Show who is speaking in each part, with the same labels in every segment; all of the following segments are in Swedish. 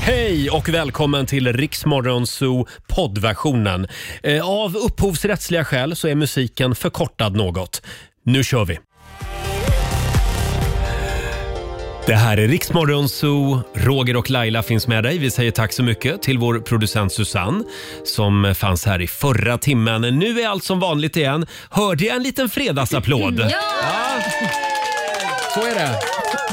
Speaker 1: Hej och välkommen till Riksmorgon Zoo poddversionen. Eh, Av upphovsrättsliga skäl så är musiken förkortad något. Nu kör vi! Det här är Riksmorgon Zoo. Roger och Laila finns med dig. Vi säger tack så mycket till vår producent Susanne som fanns här i förra timmen. Nu är allt som vanligt igen. Hörde jag en liten fredagsapplåd?
Speaker 2: Ja!
Speaker 1: Så är det.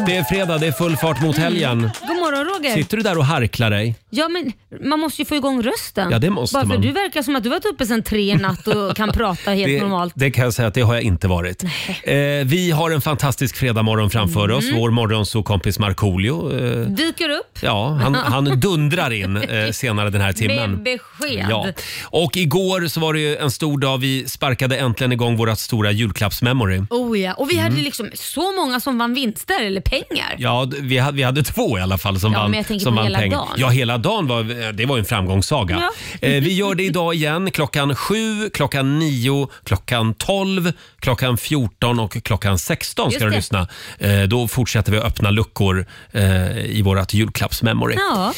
Speaker 1: Det är fredag, det är full fart mot helgen.
Speaker 2: God morgon Roger.
Speaker 1: Sitter du där och harklar dig?
Speaker 2: Ja, men man måste ju få igång rösten.
Speaker 1: Ja, det måste
Speaker 2: Bara för
Speaker 1: man.
Speaker 2: Du verkar som att du varit uppe sedan tre i natt och kan prata helt
Speaker 1: det,
Speaker 2: normalt.
Speaker 1: Det kan jag säga att det har jag inte varit. Eh, vi har en fantastisk fredagmorgon framför oss.
Speaker 2: Mm.
Speaker 1: Vår morgonsåkompis Markoolio. Eh,
Speaker 2: Dyker upp
Speaker 1: ja, han, han dundrar in eh, senare den här timmen.
Speaker 2: med besked.
Speaker 1: Ja. Och igår så var det ju en stor dag. Vi sparkade äntligen igång vårt stora julklappsmemory.
Speaker 2: Oh ja, och vi hade liksom så många som vann vinster eller pengar.
Speaker 1: Mm. Ja, d- vi hade, vi hade två i alla fall som
Speaker 2: Ja, men
Speaker 1: vann,
Speaker 2: jag tänker
Speaker 1: som
Speaker 2: på
Speaker 1: vann
Speaker 2: hela
Speaker 1: pengar.
Speaker 2: dagen.
Speaker 1: Ja, hela dagen var, eh, det var ju en framgångssaga.
Speaker 2: Ja.
Speaker 1: Eh, vi gör det idag igen klockan sju, klockan nio, klockan tolv, klockan fjorton och klockan sexton ska
Speaker 2: Just
Speaker 1: du
Speaker 2: det.
Speaker 1: lyssna. Eh, då fortsätter vi att öppna luckor eh, i vårt julklappsmemory.
Speaker 2: Ja.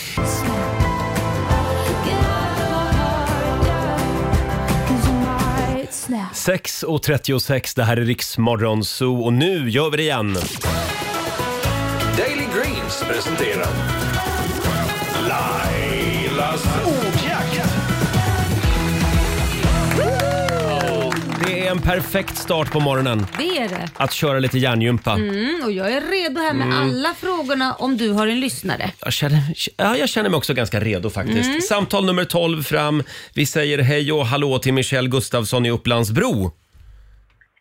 Speaker 3: Snap.
Speaker 1: 6.36, det här är Riksmorgon Zoo och nu gör vi det igen.
Speaker 4: Daily Greens presenterar Lailas ordjakt.
Speaker 1: Det är en perfekt start på morgonen.
Speaker 2: Det är det.
Speaker 1: Att köra lite hjärngympa.
Speaker 2: Mm, och jag är redo här
Speaker 1: Mm.
Speaker 2: med alla frågorna om du har en lyssnare.
Speaker 1: Jag känner, ja, jag känner mig också ganska redo faktiskt. Samtal nummer 12 fram. Vi säger hej och hallå till Michelle Gustafsson i Upplandsbro.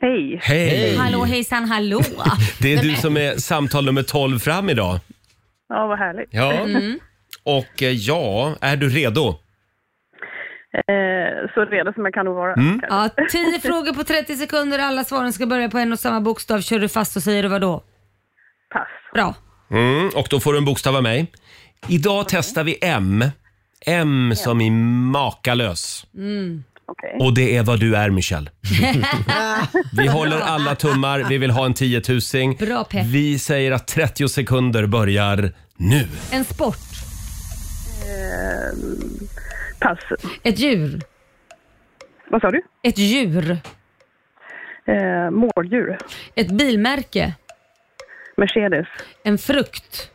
Speaker 5: Hej.
Speaker 1: Hej!
Speaker 2: Hallå hejsan hallå.
Speaker 1: Det är du som är samtal nummer 12 fram idag.
Speaker 5: Ja, vad härligt.
Speaker 1: Ja.
Speaker 2: Mm.
Speaker 1: Och eh, ja, är du redo?
Speaker 5: Eh, så redo som jag kan nog vara. kanske.
Speaker 2: Ja, 10 frågor på 30 sekunder. Alla svaren ska börja på en och samma bokstav. Kör du fast och säger du vad då?
Speaker 5: Pass.
Speaker 2: Bra.
Speaker 1: Mm, och då får du en bokstav av mig. Idag testar vi M. M som i makalös.
Speaker 2: Mm.
Speaker 5: Okej.
Speaker 1: Och det är vad du är Michelle. vi håller alla tummar. Vi vill ha en tiotusing.
Speaker 2: Bra, Pep.
Speaker 1: Vi säger att 30 sekunder börjar nu.
Speaker 2: En sport.
Speaker 5: Eh, Pass.
Speaker 2: Ett djur.
Speaker 5: Vad sa du?
Speaker 2: Ett djur.
Speaker 5: Eh, mårddjur.
Speaker 2: Ett bilmärke.
Speaker 5: Mercedes.
Speaker 2: En frukt.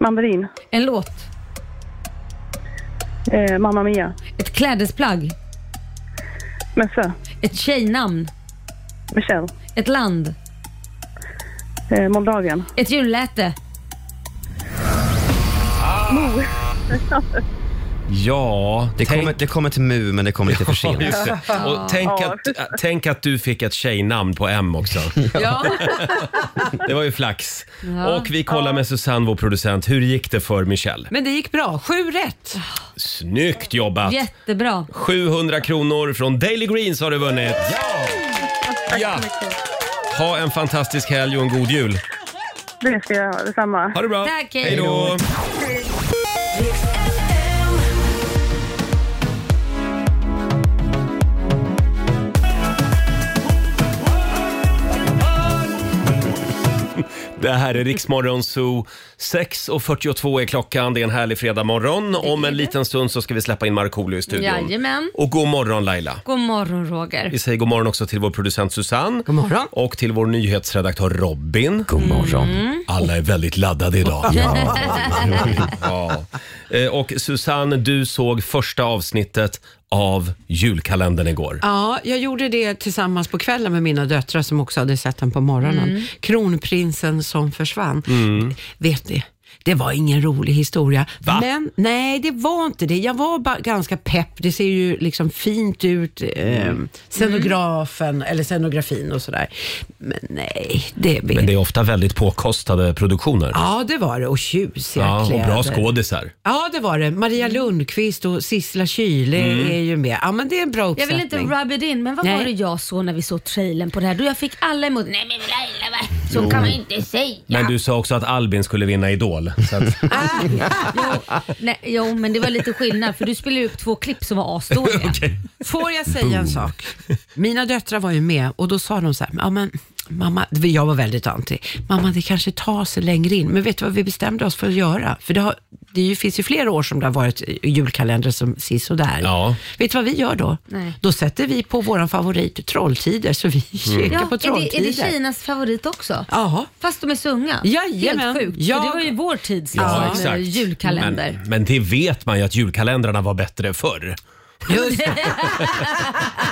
Speaker 5: Mandarin.
Speaker 2: En låt.
Speaker 5: Eh, Mamma Mia.
Speaker 2: Ett klädesplagg.
Speaker 5: Mössa.
Speaker 2: Ett tjejnamn.
Speaker 5: Michelle.
Speaker 2: Ett land.
Speaker 5: Eh, Moldavien.
Speaker 2: Ett djurläte.
Speaker 1: Ja,
Speaker 6: Det
Speaker 1: tänk-
Speaker 6: kommer, det kommer till MU, men det kommer lite för
Speaker 1: Ja,
Speaker 6: sent.
Speaker 1: just det. Och tänk, att, äh, tänk att du fick ett tjejnamn på M också.
Speaker 2: Ja.
Speaker 1: Det var ju flax.
Speaker 2: Ja.
Speaker 1: Och vi kollar med Susanne, vår producent. Hur gick det för Michelle?
Speaker 7: Men det gick bra. Sju rätt.
Speaker 1: Snyggt jobbat!
Speaker 2: Jättebra.
Speaker 1: 700 kronor från Daily Greens har du vunnit. Ja! Ha en fantastisk helg och en god jul.
Speaker 5: Det ska jag ha. Detsamma.
Speaker 1: Ha det bra!
Speaker 2: Tack, hej.
Speaker 1: hej då! Det här är Riksmorgon Zoo. 6.42 är klockan. Det är en härlig fredagmorgon. Om en liten stund så ska vi släppa in Markoolio i studion.
Speaker 2: Jajamän.
Speaker 1: Och god morgon Laila.
Speaker 2: God morgon Roger.
Speaker 1: Vi säger god morgon också till vår producent Susanne.
Speaker 7: God morgon.
Speaker 1: Och till vår nyhetsredaktör Robin. Mm.
Speaker 6: God morgon.
Speaker 1: Alla är väldigt laddade idag.
Speaker 6: Ja.
Speaker 1: ja. Eh, Och Susanne, du såg första avsnittet av julkalendern igår.
Speaker 7: Ja, jag gjorde det tillsammans på kvällen med mina döttrar som också hade sett den på morgonen. Kronprinsen som försvann. Vet ni? Det var ingen rolig historia.
Speaker 1: Va?
Speaker 7: Men nej, det var inte det. Jag var bara ganska pepp. Det ser ju liksom fint ut, eh,
Speaker 1: Mm.
Speaker 7: scenografen eller scenografin och sådär. Men nej, det vet
Speaker 1: Men det är ofta väldigt påkostade produktioner.
Speaker 7: Ja, det var det. Och tjusiga
Speaker 1: Ja, och
Speaker 7: kläder.
Speaker 1: bra skådisar.
Speaker 7: Ja, det var det. Maria
Speaker 2: Mm.
Speaker 7: Lundqvist och Sissela Kyle är ju med. Ja, men det är en bra
Speaker 2: Jag
Speaker 7: uppsättning.
Speaker 2: vill inte rub it in, men vad
Speaker 7: Nej.
Speaker 2: var det jag såg när vi såg trailern på det här? Då jag fick alla emot Nej men Laila, vad- så kan man inte säga.
Speaker 1: Men du sa också att Albin skulle vinna Idol. Så att,
Speaker 6: Ah,
Speaker 2: Nej, jo, men det var lite skillnad för du spelade ju upp två klipp som var asdåliga.
Speaker 7: Får jag säga en sak? Mina döttrar var ju med och då sa de så här, ja men mamma, jag var väldigt anti, mamma det kanske tar sig längre in. Men vet du vad vi bestämde oss för att göra? För det, har, det är ju, finns ju flera år som det har varit julkalendrar som sis och där.
Speaker 1: Ja.
Speaker 7: Vet du vad vi gör då?
Speaker 2: Nej.
Speaker 7: Då sätter vi på vår favorit Trolltider, så vi
Speaker 1: Mm.
Speaker 7: kikar på
Speaker 2: är, det, är
Speaker 7: Trolltider.
Speaker 2: det Kinas favorit också?
Speaker 7: Ja.
Speaker 2: Fast de är så unga.
Speaker 7: Jajamän.
Speaker 2: Helt sjukt.
Speaker 7: Ja.
Speaker 2: För det var ju vår tids
Speaker 1: Ja,
Speaker 2: liksom,
Speaker 1: exakt.
Speaker 2: eh, julkalender.
Speaker 1: Men, men det vet man ju att julkalendrarna var bättre förr.
Speaker 7: Just det.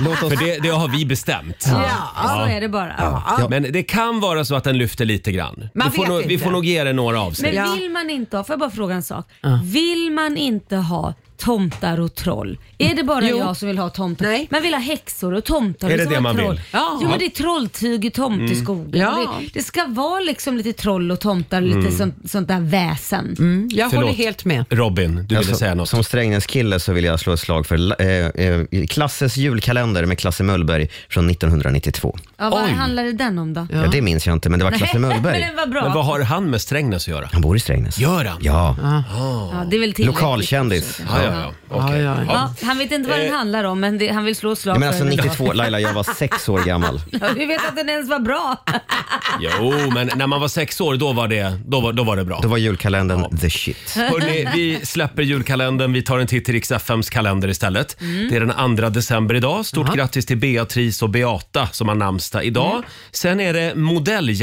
Speaker 6: Låt oss...
Speaker 1: För det, det har vi bestämt.
Speaker 2: Ja, så är det bara.
Speaker 1: Men det kan vara så att den lyfter lite grann.
Speaker 7: Man
Speaker 1: vi, får
Speaker 7: vet
Speaker 1: nog, vi
Speaker 7: inte.
Speaker 1: får nog ge det några avsnitt.
Speaker 2: Men
Speaker 7: Ja.
Speaker 2: vill man inte ha, får jag bara fråga en sak? Vill man inte ha tomtar och troll? Är det bara
Speaker 7: Jo.
Speaker 2: jag som vill ha tomtar?
Speaker 7: Nej.
Speaker 2: Man vill ha häxor och tomtar.
Speaker 1: Är
Speaker 2: och
Speaker 1: det
Speaker 2: så
Speaker 1: det
Speaker 2: har
Speaker 1: man
Speaker 2: troll.
Speaker 1: vill?
Speaker 7: Ja.
Speaker 2: Jo men det är trolltyg och tomteskogen.
Speaker 7: Ja.
Speaker 2: Det, det ska vara liksom lite troll och tomtar och lite sånt, sånt där väsen.
Speaker 7: Mm, Jag
Speaker 1: Mm. Förlåt.
Speaker 7: håller helt med.
Speaker 1: Robin, du ville säga något.
Speaker 6: Alltså, Som Strängnäskille så vill jag slå ett slag för eh, eh, Klasses julkalender med Klasse Möllberg från 1992.
Speaker 2: Ja, vad
Speaker 1: Oj.
Speaker 2: handlade den om då?
Speaker 6: Ja. det minns jag inte, men det var Klasse
Speaker 2: men
Speaker 6: Möllberg.
Speaker 2: den var bra.
Speaker 1: Men vad har han med Strängnäs att göra?
Speaker 6: Han bor i Strängnäs.
Speaker 1: Gör han?
Speaker 6: Ja.
Speaker 2: ja, det är väl tillräckligt.
Speaker 6: Lokalkändis.
Speaker 1: Ja, ja, ja. Okej.
Speaker 7: Ja, ja, ja.
Speaker 2: Ja, han vet inte vad
Speaker 1: Eh.
Speaker 2: den handlar om men det, han vill slå slag
Speaker 6: Ja, men alltså
Speaker 2: för den.
Speaker 6: 92, Laila, jag var sex år gammal.
Speaker 2: Hur vet att den ens var bra?
Speaker 1: Jo, men när man var sex år då var det, då var, då var det bra.
Speaker 6: Då var julkalendern the shit.
Speaker 1: Hörrni, vi släpper julkalendern. Vi tar en titt i Rix FMs kalender istället. Det är den 2 december idag. Stort grattis till Beatrice och Beata som har namnsdag idag. Sen är det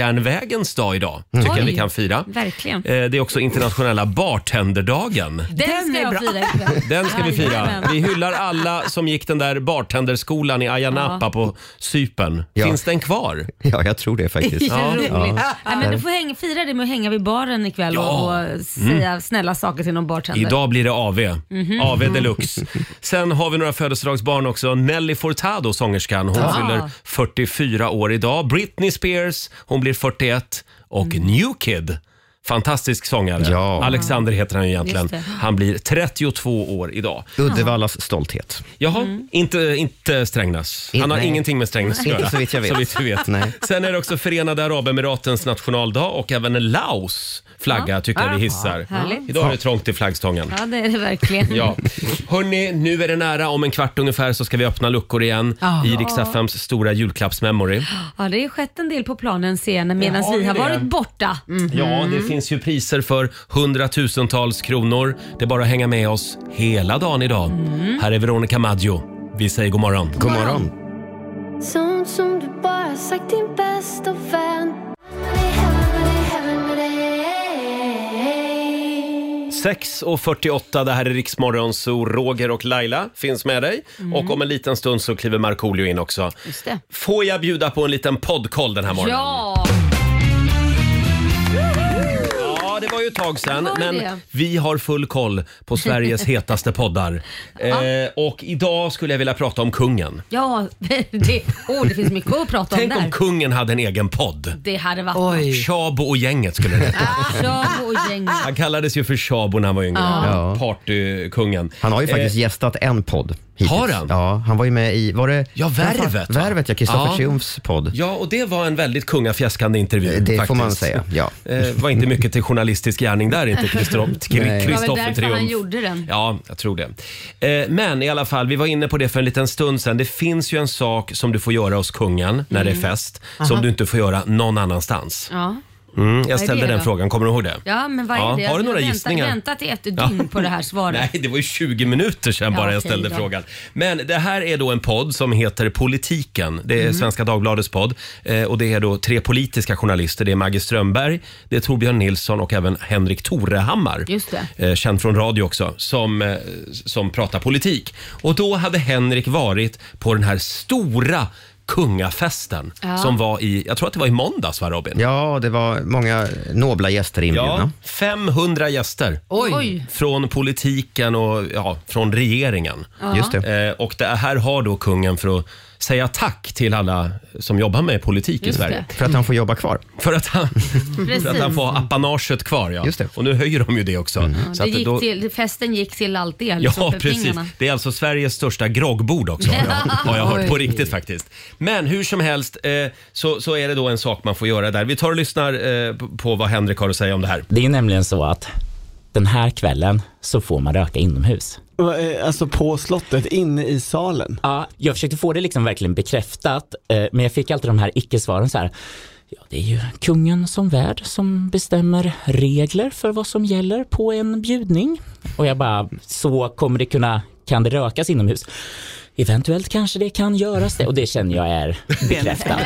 Speaker 1: modelljärnvägens dag idag. Tycker jag
Speaker 2: Oj.
Speaker 1: vi kan fira.
Speaker 2: Verkligen.
Speaker 1: Eh, Det är också internationella bartenderdagen.
Speaker 2: Den, ska
Speaker 7: är
Speaker 2: jag
Speaker 7: bra.
Speaker 2: fira ikväll.
Speaker 1: Den ska vi fira.
Speaker 2: Jajamän.
Speaker 1: Vi hyllar alla som gick den där bartenderskolan i Ayia Napa på Cypern.
Speaker 6: Ja.
Speaker 1: Finns den kvar?
Speaker 6: Ja, jag tror det faktiskt.
Speaker 2: Ja. Roligt. Nej, men du får hänga, fira det med att hänga vid baren ikväll
Speaker 1: Ja.
Speaker 2: och, och säga snälla saker till någon bartender. Mhm.
Speaker 1: Idag blir det AV. AV deluxe. Sen har vi några födelsedagsbarn också. Nelly Furtado, sångerskan. Hon fyller 44 år idag. Britney Spears, hon blir 41. Och
Speaker 2: Mm.
Speaker 1: New Kid, fantastisk sångare.
Speaker 6: Ja.
Speaker 1: Alexander heter han ju egentligen.
Speaker 2: Just det.
Speaker 1: Han blir 32 år idag.
Speaker 6: Uddevallas stolthet.
Speaker 1: Jaha,
Speaker 2: Mm.
Speaker 1: inte, inte Strängnäs. Han har
Speaker 6: Nej.
Speaker 1: ingenting med Strängnäs att
Speaker 6: Inte
Speaker 1: göra.
Speaker 6: så vitt jag vet.
Speaker 1: Så vitt vi vet.
Speaker 6: Nej.
Speaker 1: Sen är det också Förenade Arabemiratens nationaldag och även Laos flagga tycker jag vi hissar.
Speaker 2: Ah, härligt.
Speaker 1: Idag är det trångt i flaggstången.
Speaker 2: Ja det är det verkligen.
Speaker 1: Ja. Hörni, nu är det nära. Om en kvart ungefär så ska vi öppna luckor igen
Speaker 7: Ja.
Speaker 1: i Rix FMs stora julklappsmemory.
Speaker 2: Ja, det är skett en del på planen sen medan
Speaker 1: Ja,
Speaker 2: vi har
Speaker 1: det är det.
Speaker 2: varit borta. Mm.
Speaker 1: Ja, det finns ju priser för hundratusentals kronor. Det är bara att hänga med oss hela dagen idag. Här är Veronica Maggio. Vi säger god morgon.
Speaker 6: God morgon.
Speaker 3: Sånt som du bara sagt din bästa vän
Speaker 1: 6.48, det här är Riksmorgon, så Roger och Laila finns med dig. Och om en liten stund så kliver Markoolio in också.
Speaker 2: Just det.
Speaker 1: Får jag bjuda på en liten poddkoll den här morgonen?
Speaker 2: Ja,
Speaker 1: Ja, det var ju ett tag sedan,
Speaker 2: Det var ju
Speaker 1: men
Speaker 2: det.
Speaker 1: vi har full koll på Sveriges hetaste poddar. Eh, och idag skulle jag vilja prata om kungen.
Speaker 2: ja det, oh, det finns mycket att prata om
Speaker 1: Tänk
Speaker 2: där.
Speaker 1: om kungen hade en egen podd.
Speaker 2: det hade varit
Speaker 7: Oj.
Speaker 1: Tjabo och gänget skulle det heta.
Speaker 2: Ah, Tjabo och gänget.
Speaker 1: Han kallades ju för Tjabo när han var yngre.
Speaker 6: Ja.
Speaker 1: Partykungen.
Speaker 6: Han har ju faktiskt gästat en podd. Hittills.
Speaker 1: Eh, Har han?
Speaker 6: Ja, han var ju med i, var det?
Speaker 1: Ja, Värvet, va?
Speaker 6: Värvet, ja. Kristoffer
Speaker 1: Ja.
Speaker 6: Triumfs podd. Eh,
Speaker 1: Ja, och det var en väldigt kungafjäskande intervju.
Speaker 6: Det får
Speaker 1: faktiskt.
Speaker 6: man säga, ja.
Speaker 1: Eh, var inte mycket till journalistisk gärning där inte, Kristoffer
Speaker 6: Nej.
Speaker 1: Triumf.
Speaker 6: Det
Speaker 2: var väl därför han gjorde den.
Speaker 1: Ja, jag tror det. Eh, men i alla fall, vi var inne på det för en liten stund sedan. Det finns ju en sak som du får göra hos kungen när det är fest, som du inte får göra någon annanstans.
Speaker 2: Mm. Ja.
Speaker 1: Mm, jag
Speaker 2: det
Speaker 1: ställde den
Speaker 2: då?
Speaker 1: frågan, kommer du ihåg det?
Speaker 2: ja, men vad är
Speaker 1: Ja,
Speaker 2: det?
Speaker 1: har du
Speaker 2: Jag
Speaker 1: några
Speaker 2: väntar-
Speaker 1: gissningar?
Speaker 2: väntat i ett dygn på det här svaret.
Speaker 1: Nej, det var ju 20 minuter sedan
Speaker 2: Ja,
Speaker 1: bara jag
Speaker 2: okej
Speaker 1: ställde
Speaker 2: då.
Speaker 1: frågan. Men det här är då en podd som heter Politiken. Det är
Speaker 2: Mhm.
Speaker 1: Svenska Dagbladets podd. Eh, och det är då tre politiska journalister. Det är Maggie Strömberg, det är Torbjörn Nilsson och även Henrik Torehammar.
Speaker 2: Just
Speaker 1: Eh, känd från radio också, som, eh, som pratar politik. Och då hade Henrik varit på den här stora kungafesten
Speaker 2: Ja.
Speaker 1: som var i, jag tror att det var i måndags va Robin?
Speaker 6: Ja, det var många nobla gäster inbjudna.
Speaker 1: 500 gäster
Speaker 7: Oj.
Speaker 2: Oj.
Speaker 1: från politiken och ja, från regeringen.
Speaker 6: Just det.
Speaker 1: Eh, och det här har då kungen för att säga tack till alla som jobbar med politik
Speaker 2: Just
Speaker 1: i Sverige.
Speaker 6: För att han får jobba kvar.
Speaker 1: För att, han, för att
Speaker 2: Precis.
Speaker 1: han får apanaget kvar. Ja.
Speaker 6: Just det. Mm.
Speaker 1: Och nu höjer de ju det också.
Speaker 2: Det
Speaker 1: Så att
Speaker 2: gick
Speaker 1: då-
Speaker 2: till, festen gick till allt det, liksom,
Speaker 1: Ja,
Speaker 2: för
Speaker 1: precis.
Speaker 2: pengarna.
Speaker 1: Det är alltså Sveriges största groggbord också, har jag, har jag hört på riktigt faktiskt. Men hur som helst eh, så, så är det då en sak man får göra där. Vi tar och lyssnar eh, på- på vad Henrik har att säga om det här.
Speaker 8: Det är nämligen så att den här kvällen så får man röka inomhus.
Speaker 9: Va, eh, Alltså på slottet, inne i salen.
Speaker 8: Ja, jag försökte få det liksom verkligen bekräftat, eh, men jag fick alltid de här icke-svaren så här. Ja, det är ju kungen som värd som bestämmer regler för vad som gäller på en bjudning. Och jag bara, så kommer det kunna, kan det rökas inomhus? Eventuellt kanske det kan göras det och det känner jag är bekräftat.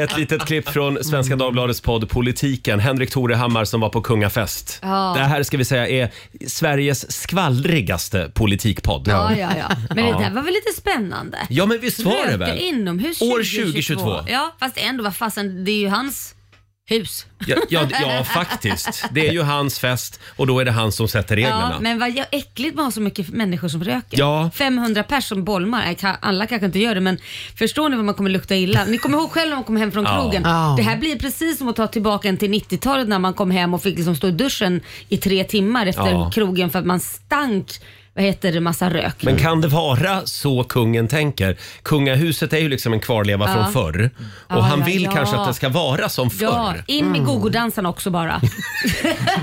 Speaker 1: Ett litet klipp från Svenska Dagbladets podd Politiken. Henrik Torehammar som var på kungafest.
Speaker 2: Ja.
Speaker 1: Det här ska vi säga är Sveriges skvallrigaste politikpodd.
Speaker 2: Ja, ja, ja. Men det där var väl lite spännande?
Speaker 1: Ja, men visst var det
Speaker 2: Röker
Speaker 1: väl?
Speaker 2: inomhus
Speaker 1: År
Speaker 2: 2022.
Speaker 1: 2022.
Speaker 2: Ja, fast ändå, vad fasen, det är ju hans hus.
Speaker 1: Ja, ja, ja, faktiskt. Det är ju hans fest och då är det han som sätter reglerna.
Speaker 2: Ja, men vad jä- äckligt med att ha så mycket människor som röker.
Speaker 1: Ja.
Speaker 2: 500 personer som bolmar. Nej, ka- Alla kanske inte gör det men förstår ni vad man kommer lukta illa? Ni kommer ihåg själv när man kom hem från
Speaker 1: Ja.
Speaker 2: krogen.
Speaker 7: Ja.
Speaker 2: Det här blir precis som att ta tillbaka en till 90-talet när man kom hem och fick liksom stå i duschen i tre timmar efter
Speaker 1: Ja.
Speaker 2: krogen för att man stank, vad heter det, massa rök.
Speaker 1: Men kan det vara så kungen tänker? Kungahuset är ju liksom en kvarleva från förr. Och
Speaker 2: Ja,
Speaker 1: han
Speaker 2: ja,
Speaker 1: vill
Speaker 2: ja.
Speaker 1: kanske att det ska vara som
Speaker 2: Ja,
Speaker 1: förr. Mm.
Speaker 2: in med gogodansen också bara.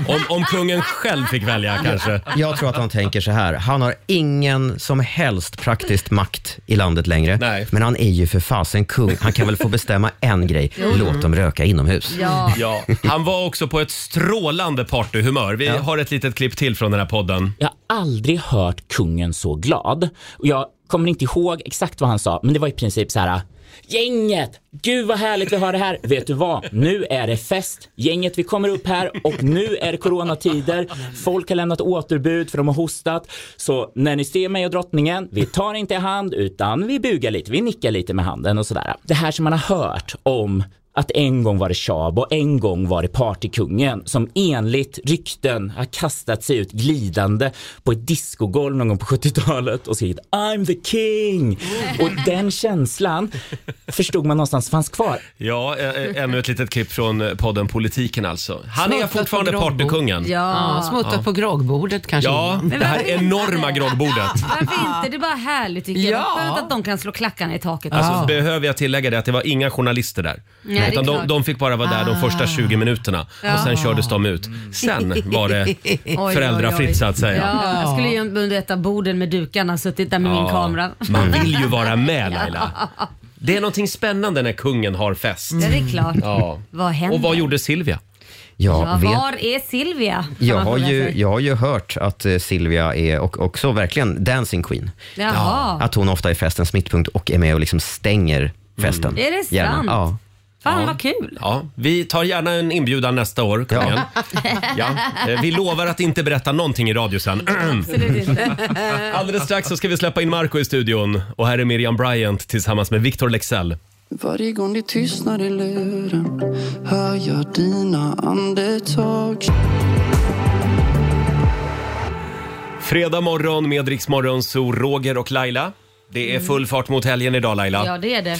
Speaker 1: Om, om kungen själv fick välja kanske.
Speaker 6: Jag tror att han tänker så här. Han har ingen som helst praktiskt makt i landet längre.
Speaker 1: Nej.
Speaker 6: Men han är ju för fasen kung. Han kan väl få bestämma en grej.
Speaker 2: Mm.
Speaker 6: Låt dem röka inomhus.
Speaker 2: Ja.
Speaker 1: Ja, han var också på ett strålande partyhumör. Vi har ett litet klipp till från den här podden.
Speaker 8: Jag har aldrig hört kungen så glad. Och jag kommer inte ihåg exakt vad han sa, men det var i princip så här. Gänget! Gud vad härligt vi har det här. Vet du vad? Nu är det fest. Gänget, vi kommer upp här och nu är det coronatider. Folk har lämnat återbud för de har hostat. Så när ni ser mig och drottningen, vi tar inte i hand utan vi bugar lite. Vi nickar lite med handen och sådär. Det här som man har hört om att en gång var det Tjab och en gång var det partykungen som enligt rykten har kastat sig ut glidande på ett discogolv någon gång på 70-talet och skrikit I'm the king! Och den känslan förstod man någonstans fanns kvar.
Speaker 1: Ja, ä- ä- ännu ett litet klipp från eh, podden Politiken alltså. Han är
Speaker 7: Snart
Speaker 1: fortfarande
Speaker 7: att de groggar.
Speaker 1: partykungen. Ja,
Speaker 7: Ja,
Speaker 2: Ja.
Speaker 7: smuttar på groggbordet kanske. innan.
Speaker 1: det här enorma groggbordet.
Speaker 2: Varför inte? Det är bara härligt tycker jag.
Speaker 7: Ja.
Speaker 2: Ja. Skönt att de kan slå klackarna i taket.
Speaker 1: Alltså,
Speaker 7: Ja.
Speaker 1: Behöver jag tillägga det att det var inga journalister där.
Speaker 2: det är
Speaker 1: utan de,
Speaker 2: klart. Ah.
Speaker 1: de fick bara vara där de första 20 minuterna och sen kördes de ut. Sen var det
Speaker 2: Oj,
Speaker 1: föräldrafritt
Speaker 2: oj, oj.
Speaker 1: så att säga.
Speaker 2: Ja, jag skulle ju under ett av borden med dukarna suttit där med min
Speaker 1: Ja,
Speaker 2: kamera.
Speaker 1: Man vill ju vara med Laila. Det är någonting spännande när kungen har fest.
Speaker 2: Ja, det är klart.
Speaker 1: Ja.
Speaker 2: Vad händer?
Speaker 1: Och vad gjorde Silvia?
Speaker 6: Jag
Speaker 2: ja,
Speaker 6: vet
Speaker 2: Var är Silvia? Kan
Speaker 6: Jag
Speaker 2: man
Speaker 6: har,
Speaker 2: fråga
Speaker 6: ju,
Speaker 2: sig.
Speaker 6: jag har ju hört att eh, Silvia är och också verkligen dancing queen.
Speaker 2: Jaha.
Speaker 6: Att hon ofta är festens mittpunkt och är med och liksom stänger festen.
Speaker 2: Mm. Är det
Speaker 6: Gärna.
Speaker 2: sant?
Speaker 6: Ja.
Speaker 2: Fan vad kul.
Speaker 1: Ja, vi tar gärna en inbjudan nästa år, kungen. Ja. eh, Vi lovar att inte berätta någonting i radio sen.
Speaker 2: Absolut inte.
Speaker 1: Alldeles strax så ska vi släppa in Marco i studion. Och här är Miriam Bryant tillsammans med Victor Lexell.
Speaker 10: Varje gång det tystnar i luren hör jag dina andetag
Speaker 1: Fredag morgon med Rix Morgon, så Roger och Laila. Det är full fart mot helgen idag Laila.
Speaker 2: Mm. Ja, det är det.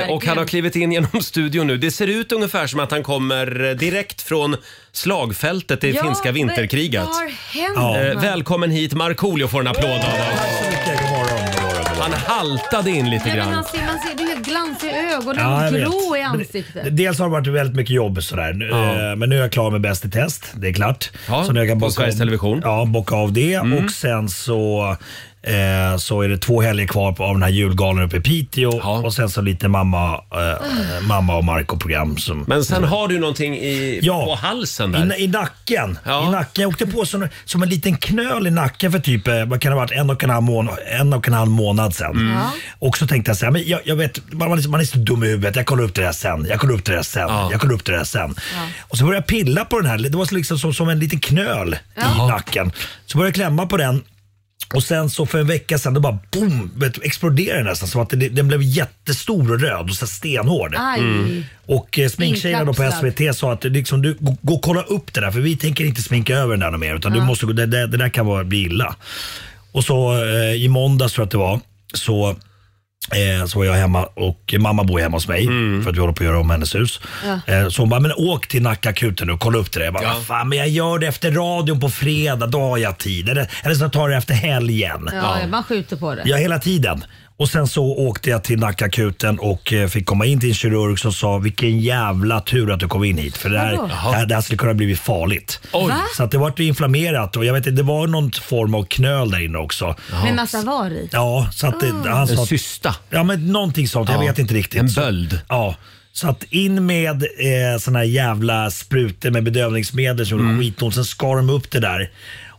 Speaker 1: Eh, och han
Speaker 2: Verkligen.
Speaker 1: har klivit in genom studion nu. Det ser ut ungefär som att han kommer eh, direkt från slagfältet i
Speaker 2: Ja,
Speaker 1: finska
Speaker 2: men
Speaker 1: vinterkriget.
Speaker 2: Vad har hänt?
Speaker 1: Eh, välkommen hit Markoolio får en applåd av oss.
Speaker 4: Tack så mycket. God morgon. God morgon, god
Speaker 1: Han
Speaker 4: morgon.
Speaker 1: haltade in lite
Speaker 2: Nej, men
Speaker 1: grann.
Speaker 2: han ser, man ser, det är helt glans i ögonen
Speaker 4: Ja, jag
Speaker 2: och
Speaker 4: vet.
Speaker 2: grå i
Speaker 4: Men det-
Speaker 2: ansiktet.
Speaker 4: Dels har det varit väldigt mycket jobb sådär. Nu, eh, Men nu är jag klar med Bäst i test. Det är klart.
Speaker 1: Ja, Mm.
Speaker 4: nu
Speaker 1: på
Speaker 4: bocka
Speaker 1: Sveriges
Speaker 4: av-
Speaker 1: Television.
Speaker 4: Ja, bocka av det. Och sen så, eh, så är det två helger kvar på, av den här julgalan uppe i Piteå.
Speaker 1: Ja.
Speaker 4: Och sen så lite mamma, eh, mamma och Marco-program som
Speaker 1: Men sen har du någonting i,
Speaker 4: Ja.
Speaker 1: på halsen
Speaker 4: I,
Speaker 1: där.
Speaker 4: na- I nacken.
Speaker 1: Ja.
Speaker 4: I nacken. Jag åkte på som, som en liten knöl i nacken för typ eh, vad kan det ha varit, en och en halv, mån, en och en halv månad sedan.
Speaker 1: Mm.
Speaker 4: Och så tänkte jag så här, men jag, jag vet, man, man, är så, man är så dum i huvudet. Jag kollar upp det där sen. Jag kollar upp det där sen.
Speaker 1: Ja.
Speaker 4: Jag kollar upp det där sen. Och så började jag pilla på den här. Det var så liksom som, som en liten knöl i nacken. Så började jag klämma på den. Och sen så för en vecka sedan, då bara boom, vet, du, exploderade den nästan. Som att den, den blev jättestor och röd och så här stenhård.
Speaker 2: Aj.
Speaker 1: Mm.
Speaker 4: Och eh, sminktjejerna då på
Speaker 2: Inkapslad.
Speaker 4: SVT sa att liksom, du, gå, gå och kolla upp det där för vi tänker inte sminka över den där något mer. Utan du måste, gå- det, det, det där kan vara, bli illa. Och så eh, i måndags tror jag att det var, så, eh, så var jag hemma och mamma bor hemma hos mig för att vi håller på att göra om hennes hus. Eh, så hon bara, men åk till Nackaakuten nu och kolla upp det där. Jag bara, "Vad fan, men jag gör det efter radion på fredag, då har jag tid. Eller, eller så tar jag det efter helgen.
Speaker 2: Ja, man skjuter på det.
Speaker 4: Ja, hela tiden. Och sen så åkte jag till Nackakuten och eh, fick komma in till en kirurg som sa vilken jävla tur att du kom in hit för det här,
Speaker 11: Vadå?
Speaker 4: det här, det här skulle kunna blivit farligt.
Speaker 11: Oj. Va?
Speaker 4: Så att det vart ju inflammerat och jag vet inte, det var någon form av knöl där inne också.
Speaker 2: Med massa alltså, var i.
Speaker 4: Ja, så att det,
Speaker 2: Mm.
Speaker 4: han sa...
Speaker 2: En
Speaker 1: cysta?
Speaker 4: Ja, men någonting sånt. Jag
Speaker 1: Ja.
Speaker 4: vet inte riktigt.
Speaker 1: En
Speaker 4: Så-
Speaker 1: böld.
Speaker 4: Ja. Så att in med eh, såna här jävla sprutor med bedövningsmedel som
Speaker 1: Mm.
Speaker 4: gjorde skitont. Sen skar de upp det där.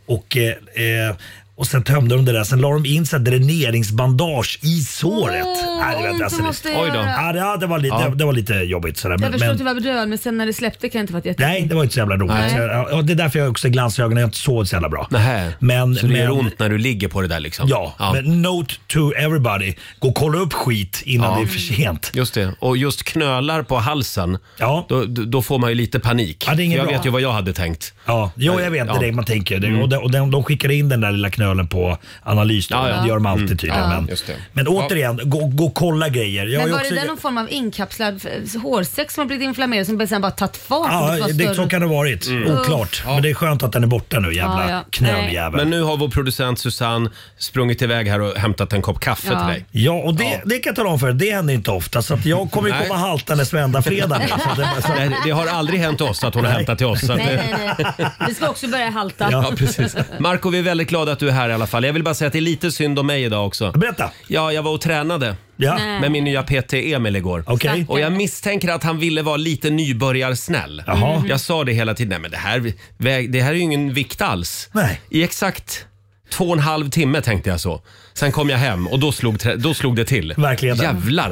Speaker 4: Och, eh, eh, och sen tömde de det där. Sen la de in så här dräneringsbandage i såret.
Speaker 2: Åh,
Speaker 4: Nej, det,
Speaker 2: ont
Speaker 4: var-
Speaker 2: det
Speaker 4: alltså,
Speaker 2: måste
Speaker 4: det,
Speaker 2: jag Oj då. göra.
Speaker 4: Ja, det, ja, det, var lite,
Speaker 2: Ja.
Speaker 4: det, var lite jobbigt. Sådär,
Speaker 11: Jag
Speaker 4: men,
Speaker 11: förstår att du
Speaker 4: men,
Speaker 11: var bedrövad men sen när det släppte kan det inte varit jätte...
Speaker 4: nej, det var inte så jävla roligt.
Speaker 11: Nej.
Speaker 4: Så, jag- ja, det är därför jag också glansögonen. Jag sov så jävla bra.
Speaker 1: Nähä.
Speaker 4: Men,
Speaker 1: så det gör
Speaker 4: men-
Speaker 1: ont när du ligger på det där liksom?
Speaker 4: Ja, men note to everybody. Gå och kolla upp skit innan
Speaker 1: Ja.
Speaker 4: det är för sent.
Speaker 1: Just det. Och just knölar på halsen,
Speaker 4: ja.
Speaker 1: då, då får man ju lite panik.
Speaker 4: Ja, det är inget
Speaker 1: jag
Speaker 4: bra.
Speaker 1: vet ju vad jag hade tänkt. Eh,
Speaker 4: Ja, jo, jag vet. Det är det man tänker. Det-
Speaker 1: Mm.
Speaker 4: Och de, och de, de skickar in den där lilla knölen på analys. Då.
Speaker 1: Ja, ja.
Speaker 4: Det gör de alltid
Speaker 1: Mm.
Speaker 4: tydligen.
Speaker 1: Ja.
Speaker 4: Men,
Speaker 1: Just det.
Speaker 4: men återigen, gå, gå och kolla grejer. Jag har
Speaker 2: men
Speaker 4: ju
Speaker 2: var
Speaker 4: också-
Speaker 2: det där någon form av inkapslad eh, hårsäck som har blivit inflammerad som sen bara tagit fart? och
Speaker 4: Ja,
Speaker 2: var
Speaker 4: det,
Speaker 2: större?
Speaker 4: så kan det ha varit.
Speaker 1: Mm.
Speaker 4: Oklart. Men det är skönt att den är borta nu, jävla
Speaker 2: Ja, ja.
Speaker 4: knöljävel.
Speaker 1: Men nu har vår producent Susanne sprungit iväg här och hämtat en kopp kaffe
Speaker 4: Ja.
Speaker 1: till dig.
Speaker 4: Ja, och det, det kan jag tala om för er, det händer inte ofta. Så att jag kommer ju
Speaker 1: Nej.
Speaker 4: komma haltandes varenda fredag. nu, Så att det, så
Speaker 1: Nej, det har aldrig hänt oss att hon har hämtat till oss. Så att,
Speaker 2: Nej, nej, nej. Vi ska också börja halta.
Speaker 1: Ja, precis. Marco, vi är väldigt glada att du är här i alla fall. Jag vill bara säga att det är lite synd om mig idag också.
Speaker 4: Berätta!
Speaker 1: Ja, jag var och tränade
Speaker 4: Ja.
Speaker 2: Nej.
Speaker 1: med min nya PT Emil igår.
Speaker 2: Okej.
Speaker 1: Och jag misstänker att han ville vara lite nybörjarsnäll. Mm.
Speaker 4: Jaha.
Speaker 1: Jag sa det hela tiden, nej men det här, väg- det här är ju ingen vikt alls.
Speaker 4: Nej.
Speaker 1: I exakt två och en halv timme tänkte jag så. Sen kom jag hem och då slog, trä- då slog det till.
Speaker 4: Verkligen.
Speaker 1: Jävlar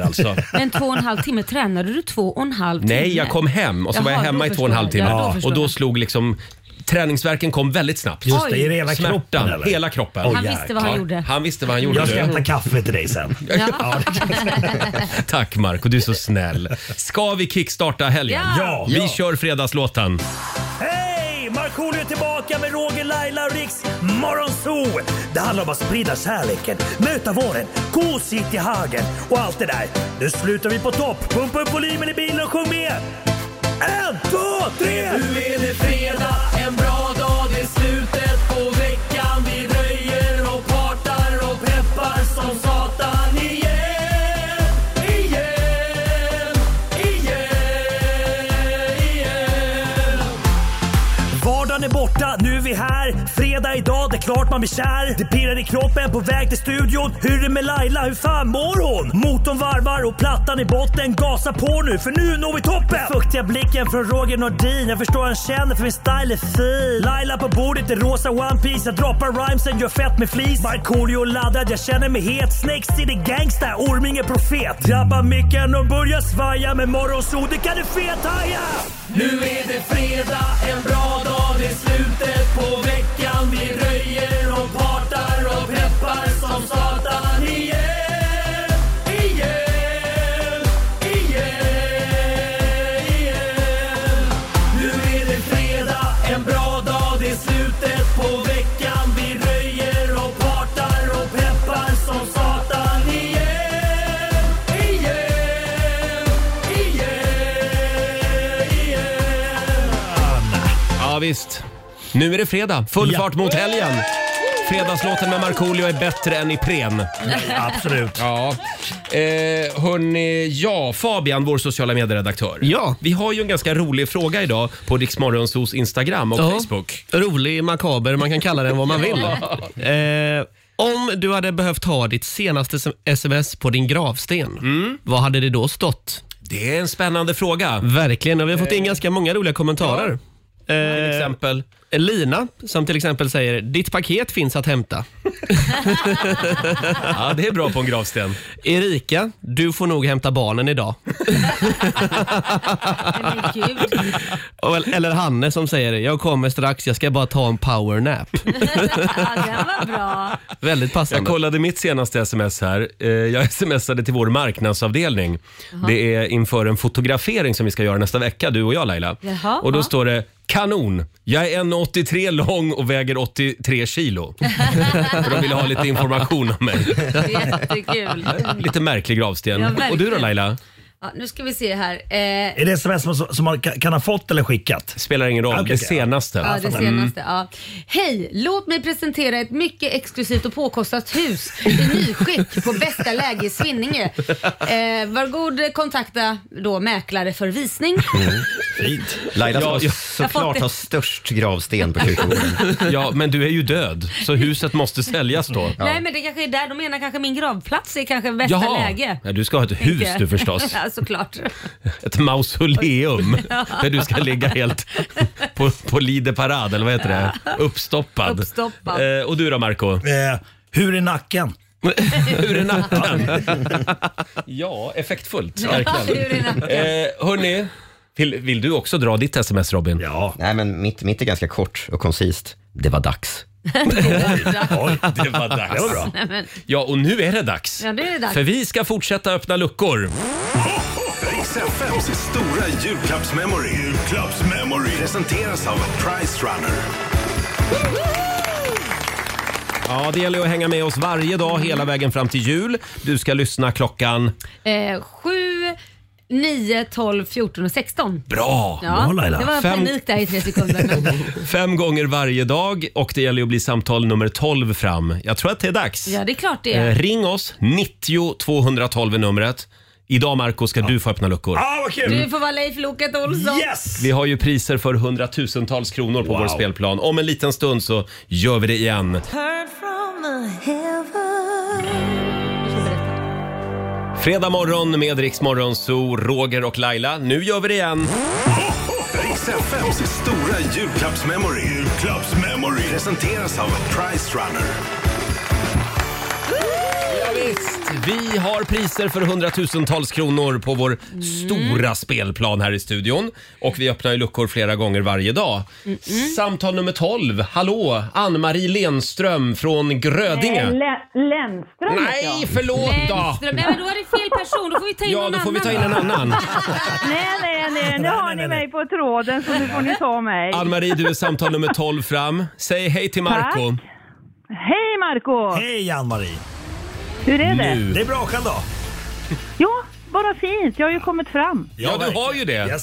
Speaker 1: alltså.
Speaker 2: Men två och en halv timme tränade du två och en halv timme?
Speaker 1: Nej, jag kom hem och så var jag
Speaker 2: Jaha,
Speaker 1: hemma i
Speaker 2: då
Speaker 1: två och en halv
Speaker 2: förstår
Speaker 1: timme.
Speaker 2: jag. Ja, då förstår
Speaker 1: och då
Speaker 2: jag.
Speaker 1: slog liksom träningsverken kom väldigt snabbt.
Speaker 4: Just det, Oj. är det hela
Speaker 1: Smärtan,
Speaker 4: kroppen, eller?
Speaker 1: Hela kroppen.
Speaker 4: Han Åh, visste vad han
Speaker 1: Ja,
Speaker 4: gjorde.
Speaker 1: Han visste vad han gjorde.
Speaker 4: jag ska hämta kaffe till dig sen.
Speaker 1: Tack Marco, du är så snäll. Ska vi kickstarta helgen?
Speaker 4: Ja.
Speaker 1: Vi
Speaker 4: Ja.
Speaker 1: kör fredagslåten.
Speaker 4: Hej! Markoolio är tillbaka med Roger, Laila och Riks Morgonzoo! Det handlar om att sprida kärleken, möta våren, gosigt i hagen och allt det där. Nu slutar vi på topp! Pumpa upp volymen i bilen och sjung med! En, två, tre!
Speaker 11: Nu är det fredag, en bra dag, det är slutet på veckan. Vi röjer och partar och peppar som satan igen. Igen, igen, igen.
Speaker 4: Vardagen är borta, nu är vi här. Fredag idag, det är klart man blir kär. Det pirrar i kroppen på väg till studion. Hur är det med Laila, hur fan mår hon? Motorn varvar och plattan i botten. Gasa på nu, för nu når vi toppen! Den fuktiga blicken från Roger Nordin. Jag förstår han känner för min style är fin. Laila på bordet i rosa One Piece Jag droppar rhymesen, gör fett med flis. Markoolio laddad, jag känner mig het. Snakes city gangsta, Orminge profet. Drabbar micken och börjar svaja. Med morgonsol, det kan du fethaja!
Speaker 11: Nu är det fredag, en bra dag, det är slutet på veckan. Vi röjer och partar och peppar som satan igen. Igen, igen, igen. Nu är det fredag, en bra dag, det är slutet på veckan. Vi röjer och partar och peppar som satan igen. Igen, igen, igen.
Speaker 1: Ja visst. Nu är det fredag. Full fart mot helgen. Fredagslåten med Markoolio är bättre än Ipren.
Speaker 4: Absolut.
Speaker 1: Ja. Eh, hörni, ja, Fabian, vår sociala medieredaktör. Ja. Vi har ju en ganska rolig fråga idag på Riksmorgonsos Instagram och
Speaker 12: Ja.
Speaker 1: Facebook.
Speaker 12: Rolig, makaber, man kan kalla den vad man vill.
Speaker 1: Ja.
Speaker 12: eh, om du hade behövt ha ditt senaste sm- sms på din gravsten, vad hade det då stått?
Speaker 1: Mm. Det är en spännande fråga.
Speaker 12: Verkligen, och vi har fått in
Speaker 1: Eh.
Speaker 12: ganska många roliga kommentarer. Eh, till
Speaker 1: exempel?
Speaker 12: Lina, som till exempel säger “Ditt paket finns att hämta”.
Speaker 1: ja, det är bra på en gravsten.
Speaker 12: Erika, du får nog hämta barnen idag. Och- Eller Hanne som säger “Jag kommer strax, jag ska bara ta en powernap”.
Speaker 2: Den var bra.
Speaker 12: Väldigt passande.
Speaker 1: Jag kollade mitt senaste sms här. Eh, Jag smsade till vår marknadsavdelning.
Speaker 2: Jaha.
Speaker 1: Det är inför en fotografering som vi ska göra nästa vecka, du och jag Laila.
Speaker 2: Jaha.
Speaker 1: och då
Speaker 2: Ja.
Speaker 1: står det “Kanon! Jag är 1,83 lång och väger 83 kilo”. För de ville ha lite information om mig.
Speaker 2: Jättekul.
Speaker 1: Lite märklig gravsten.
Speaker 2: Ja,
Speaker 1: och du då
Speaker 2: verkligen.
Speaker 1: Laila?
Speaker 2: Ja, nu ska vi se här. Eh,
Speaker 4: Är det sms som, som man ka- kan ha fått eller skickat? Ah,
Speaker 1: Spelar ingen roll. Det senaste.
Speaker 2: Ja, det senaste.
Speaker 1: Mm.
Speaker 2: Ja. Hej! Låt mig presentera ett mycket exklusivt och påkostat hus i nyskick på bästa läge i Svinninge. Eh, var god eh, kontakta då mäklare för visning.
Speaker 6: Mm.
Speaker 4: Fint.
Speaker 6: Laila ska
Speaker 1: Ja, jag-
Speaker 6: såklart ha störst gravsten på kyrkogården.
Speaker 1: Ja, men du är ju död, så huset måste säljas då.
Speaker 2: Nej men det kanske är där de menar kanske min gravplats är kanske bästa
Speaker 1: Jaha.
Speaker 2: läge.
Speaker 1: Ja, du ska ha ett
Speaker 2: tänker
Speaker 1: hus
Speaker 2: jag.
Speaker 1: du förstås.
Speaker 2: ja såklart.
Speaker 1: Ett mausoleum
Speaker 2: Ja.
Speaker 1: där du ska ligga helt på, på Lide Parad, eller vad heter det? Uppstoppad.
Speaker 2: Uppstoppad.
Speaker 1: Eh, och du då Marco?
Speaker 4: Eh, hur är nacken?
Speaker 1: Hur är natten? ja, effektfullt.
Speaker 11: Ja,
Speaker 1: Verkligen.
Speaker 11: hur är natten?
Speaker 1: Eh, hörni, vill, vill du också dra ditt sms Robin?
Speaker 4: Ja.
Speaker 6: Nej, men mitt, mitt är ganska kort och koncist. Det var dags.
Speaker 4: Oj,
Speaker 1: det var dags.
Speaker 6: Det var bra.
Speaker 2: Nej, men,
Speaker 1: Ja, och nu är det dags.
Speaker 2: ja, det är dags.
Speaker 1: För vi ska fortsätta öppna luckor.
Speaker 13: Riks FMs stora julklappsmemory. Julklappsmemory. Presenteras av Price Runner.
Speaker 1: Ja, det gäller att hänga med oss varje dag hela vägen fram till jul. Du ska lyssna klockan...
Speaker 2: Eh, 7, 9, 12, 14 och 16.
Speaker 1: Bra!
Speaker 2: Ja,
Speaker 1: Bra, Laila.
Speaker 2: Det var
Speaker 1: Fem-
Speaker 2: panik där i tre sekunder. men
Speaker 1: Fem gånger varje dag och det gäller ju att bli samtal nummer 12 fram. Jag tror att det är dags.
Speaker 2: Ja, det är klart det
Speaker 1: Eh,
Speaker 2: är.
Speaker 1: ring oss, 90 212 är numret. Idag Marco ska du få öppna luckor.
Speaker 2: Du får vara Leif Loket Olsson.
Speaker 4: Yes!
Speaker 1: Vi har ju priser för hundratusentals kronor på
Speaker 11: Wow.
Speaker 1: vår spelplan. Om en liten stund så gör vi det igen.
Speaker 11: Heard from the heaven.
Speaker 1: Fredag morgon med Rix Morgon, så Roger och Laila. Nu gör vi det igen.
Speaker 13: Riks FMs stora julklappsmemory. Julklappsmemory. Presenteras av Price Runner.
Speaker 1: Vi har priser för hundratusentals kronor på vår
Speaker 4: Mm.
Speaker 1: stora spelplan här i studion. Och vi öppnar ju luckor flera gånger varje dag. Samtal nummer 12. Hallå! Ann-Marie Lenström från Grödinge.
Speaker 5: Lennström
Speaker 1: Nej, förlåt då.
Speaker 2: Lennström. Nej, men då är det fel person. Då får vi ta in
Speaker 1: Ja,
Speaker 2: någon
Speaker 1: då får vi
Speaker 2: annan.
Speaker 1: ta in en annan.
Speaker 5: Nej, nej, nej. Nu har ni mig på tråden så nu får ni ta mig.
Speaker 1: Ann-Marie, du är samtal nummer 12 fram. Säg hej till Marco.
Speaker 5: Hej Marco!
Speaker 4: Hej Ann-Marie!
Speaker 5: Hur är det?
Speaker 1: Nu. Det är
Speaker 4: bra själv då?
Speaker 5: Ja, bara fint. Jag har ju kommit fram.
Speaker 1: Ja, du har ju det.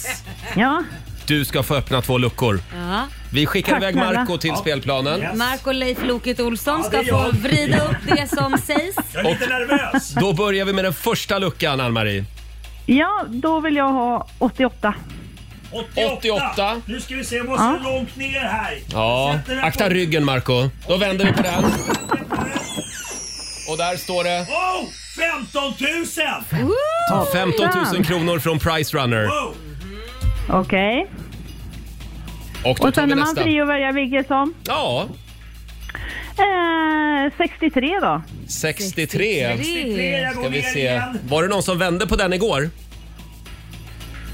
Speaker 5: Ja.
Speaker 1: Du ska få öppna två luckor.
Speaker 2: Ja.
Speaker 1: Vi skickar
Speaker 2: Tack,
Speaker 1: iväg
Speaker 2: snälla.
Speaker 1: Marco till spelplanen.
Speaker 2: Marco Leif Loket Olsson
Speaker 11: det
Speaker 2: ska
Speaker 11: är
Speaker 2: få
Speaker 11: jag.
Speaker 2: vrida upp det som sägs.
Speaker 1: nervös. Då börjar vi med den första luckan, Ann-Marie.
Speaker 5: Ja, då vill jag ha 88.
Speaker 4: 88. Nu ska vi se, jag måste
Speaker 5: Ja.
Speaker 4: långt ner här.
Speaker 1: Ja,
Speaker 4: Sätter den
Speaker 1: akta
Speaker 4: på-
Speaker 1: ryggen Marco. Då vänder vi på den. Och där står det
Speaker 4: Oh! 15 000!
Speaker 1: 15 000 kronor från Price Runner.
Speaker 4: Wow.
Speaker 5: Okej.
Speaker 1: Och då
Speaker 5: Och
Speaker 1: tar
Speaker 5: sen
Speaker 1: vi
Speaker 5: är man
Speaker 1: nästa.
Speaker 5: fri att välja vilket som.
Speaker 1: Ja,
Speaker 5: Eh, 63 då.
Speaker 1: 63.
Speaker 5: 63, jag går
Speaker 1: Ska vi
Speaker 5: ner
Speaker 1: se.
Speaker 5: igen.
Speaker 1: Var det någon som vände på den igår?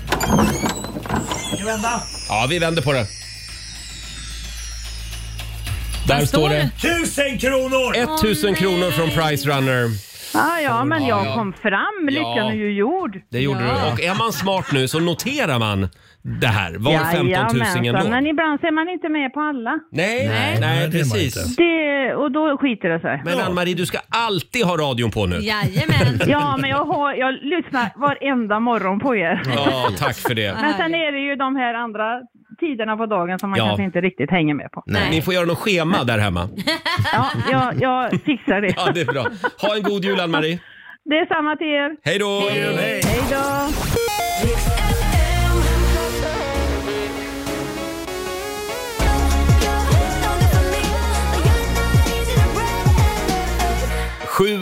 Speaker 4: Ska jag vända?
Speaker 1: Ja, vi vänder på den. Där står det
Speaker 4: 1000 kronor!
Speaker 1: 1000 kronor från Price Runner.
Speaker 5: Ah, ja, men
Speaker 1: Ja, ja.
Speaker 5: jag kom fram. Lyckan
Speaker 1: Ja.
Speaker 5: är ju gjord.
Speaker 1: Det gjorde du. Och är man smart nu så noterar man det här. Var 15 000
Speaker 5: Jajamensan,
Speaker 1: ändå?
Speaker 5: men ibland ser man inte med på alla.
Speaker 1: Nej, nej, nej precis.
Speaker 5: Det, och då skiter det sig.
Speaker 1: Men Ann-Marie, du ska alltid ha radion på nu.
Speaker 2: Jajamän.
Speaker 5: Ja, men jag, har, jag lyssnar varenda morgon på er.
Speaker 1: Ja, tack för det.
Speaker 5: Men sen är det ju de här andra tiderna på dagen som man
Speaker 1: Ja.
Speaker 5: kanske inte riktigt hänger med på.
Speaker 1: Ni får göra något schema där hemma.
Speaker 5: Ja, jag, jag fixar det.
Speaker 1: Ja, det är bra. Ha en god jul, Ann-Marie.
Speaker 5: Det är samma till er.
Speaker 1: Hej då! Hej.
Speaker 5: Hej då!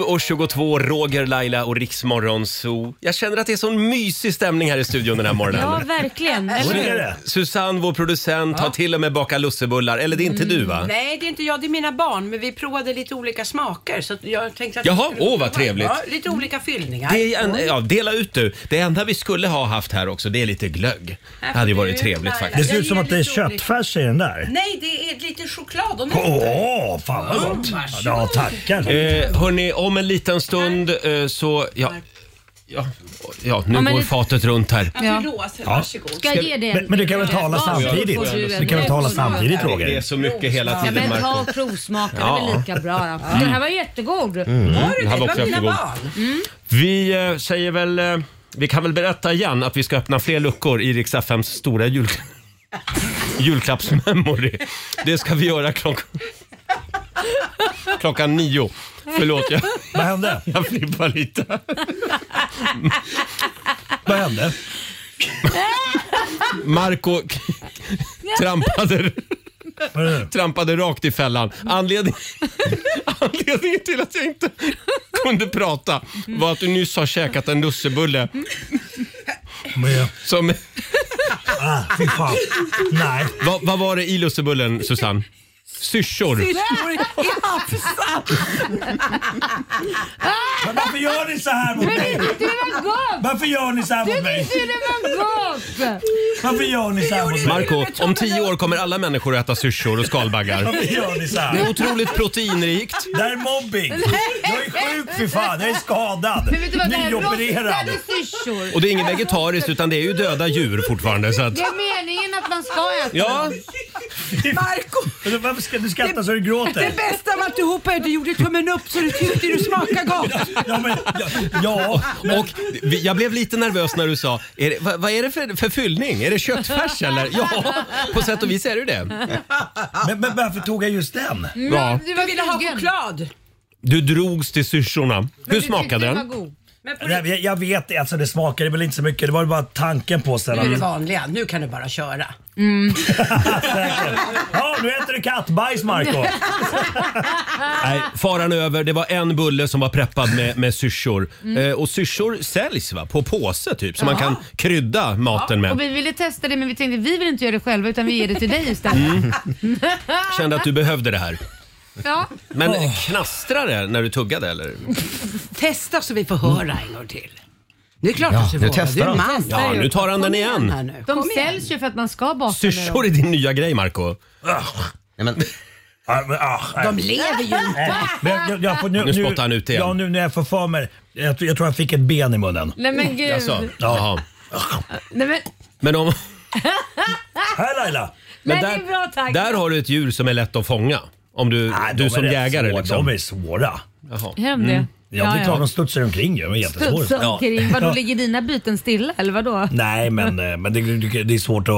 Speaker 1: och 22, Roger, Laila och Riksmorgon Zoo. Jag känner att det är sån mysig stämning här i studion den här morgonen.
Speaker 2: Ja, verkligen. Eller hur?
Speaker 1: Susanne, vår producent, har till och med bakat lussebullar. Eller det är inte du, va?
Speaker 7: Nej, det är inte jag, det är mina barn. Men vi provade lite olika smaker. Så att jag tänkte att vi
Speaker 1: Jaha,
Speaker 7: skulle
Speaker 1: åh, vad
Speaker 7: prova.
Speaker 1: trevligt.
Speaker 7: Ja, lite olika fyllningar.
Speaker 1: Det är en,
Speaker 7: Mm.
Speaker 1: ja, dela ut du. Det enda vi skulle ha haft här också, det är lite glögg. Det hade ju varit trevligt
Speaker 4: Det
Speaker 1: faktiskt.
Speaker 4: ser ut som att det är köttfärs i den där.
Speaker 7: Nej, det är lite choklad och
Speaker 4: Åh,
Speaker 7: nötter.
Speaker 4: fan vad gott!
Speaker 7: Mm,
Speaker 4: Ja, tackar.
Speaker 1: Eh, hörni, om en liten stund eh, så... Ja, ja, ja nu
Speaker 2: Ja, men
Speaker 1: går
Speaker 2: det-
Speaker 1: fatet runt här.
Speaker 2: Ja. Ska jag
Speaker 1: Ska-
Speaker 2: ge dig en-
Speaker 4: Men, men du kan väl
Speaker 2: Ja,
Speaker 4: tala
Speaker 2: varsågod,
Speaker 4: samtidigt?
Speaker 2: får du en
Speaker 4: Du kan väl tala
Speaker 2: rosmör.
Speaker 4: samtidigt Roger?
Speaker 1: Det är så mycket hela
Speaker 2: Ja,
Speaker 1: tiden,
Speaker 2: men ta
Speaker 1: Marco.
Speaker 2: och provsmaka. Det är
Speaker 1: Ja.
Speaker 2: väl lika bra. då.
Speaker 1: Mm.
Speaker 2: Den här var jättegod.
Speaker 1: Mm. Var det Den här det? var Det var också mina jättegod.
Speaker 2: Mm.
Speaker 1: Vi eh, säger väl eh, Vi kan väl berätta igen att vi ska öppna fler luckor i Rix FMs stora jul... julklappsmemory. Det ska vi göra klock... klockan nio. Förlåt, jag...
Speaker 4: Vad hände?
Speaker 1: Jag flippar lite.
Speaker 4: Vad hände?
Speaker 1: Marco k- trampade, trampade rakt i fällan. Anledning, anledningen till att jag inte kunde prata var att du nyss har käkat en lussebulle. Som...
Speaker 4: Ah, fy fan. Nej.
Speaker 1: Vad vad var det i lussebullen, Susanne? Syrsor.
Speaker 4: Men varför gör ni så här mot
Speaker 11: Men
Speaker 4: mig?
Speaker 11: det- det var gott!
Speaker 4: Varför gör ni så här mot mig? Varför gör ni så här mot mig?
Speaker 1: Marco, om tio år kommer alla människor att äta syrsor och skalbaggar.
Speaker 4: Varför gör ni så här?
Speaker 1: Det är otroligt proteinrikt.
Speaker 4: Det här är mobbing. Jag är sjuk för fan. Jag är skadad.
Speaker 2: Men vet du vad, det här är
Speaker 4: Nyopererad.
Speaker 2: rostade syrsor.
Speaker 1: Och det är inget vegetariskt utan det är ju döda djur fortfarande. Så att...
Speaker 2: Det är meningen att man ska äta
Speaker 1: Ja.
Speaker 4: Marco! Varför ska du skratta så du gråter?
Speaker 7: Det bästa av alltihopa är att du gjorde tummen upp så du tyckte du smakade gott.
Speaker 4: Ja, men, ja,
Speaker 1: Och vi- jag blev lite nervös när du sa, är det, vad, vad är det för, för fyllning? Är det köttfärs eller? Ja, på sätt och vis är det det.
Speaker 4: Men, men varför tog jag just den?
Speaker 2: Mm,
Speaker 1: Ja.
Speaker 7: Du ville ha choklad.
Speaker 1: Du drogs till syrsorna. Hur smakade den?
Speaker 4: Nej, Jag, jag vet det, alltså det smakade väl inte så mycket. Det var bara tanken på
Speaker 7: Nu
Speaker 4: sen.
Speaker 7: är det vanliga, nu kan du bara köra.
Speaker 2: Mm.
Speaker 4: Ja, nu äter du kattbajs Marco.
Speaker 1: Nej, faran är över. Det var en bulle som var preppad med, med syrsor. Eh, och syrsor säljs va? på påse typ, så man
Speaker 2: Ja.
Speaker 1: kan krydda maten
Speaker 2: Och
Speaker 1: med.
Speaker 2: vi ville testa det men vi tänkte vi vill inte göra det själva utan vi ger det till dig istället.
Speaker 1: Mm. Kände att du behövde det här.
Speaker 2: Ja.
Speaker 1: Men knastrade det när du tuggade eller?
Speaker 7: Testa så vi får höra en gång till. Det är klart att du får höra, du är man.
Speaker 1: Ja, nu tar han den igen.
Speaker 2: De säljs ju för att man ska baka
Speaker 1: Syrsor är din nya grej Marco Nej, men...
Speaker 4: Ah,
Speaker 7: De lever ju inte.
Speaker 4: Men jag, jag får, nu,
Speaker 1: Nu spottar han ut igen.
Speaker 4: Ja, nu när jag får för mig. Jag, tror- jag tror jag fick ett ben i munnen.
Speaker 2: Nej, men gud.
Speaker 1: Jaså?
Speaker 4: Ja.
Speaker 2: Nej, men,
Speaker 1: Men om...
Speaker 4: Här Laila!
Speaker 2: men
Speaker 1: där-
Speaker 2: det är bra tack.
Speaker 1: Där har du ett djur som är lätt att fånga. Om du, du
Speaker 4: Ah, de
Speaker 1: som
Speaker 4: är rätt
Speaker 1: jägare
Speaker 4: svåra.
Speaker 1: liksom.
Speaker 4: De är svåra.
Speaker 1: Jaha.
Speaker 2: Är de det?
Speaker 4: Mm. Ja, det är
Speaker 2: Ja,
Speaker 4: klart
Speaker 2: ja.
Speaker 4: de studsar omkring ju. De är jättesvåra.
Speaker 2: Studsa omkring.
Speaker 4: Ja.
Speaker 2: Vadå, ligger dina byten stilla eller vadå?
Speaker 4: Nej, men, eh, men det, det- det är svårt att,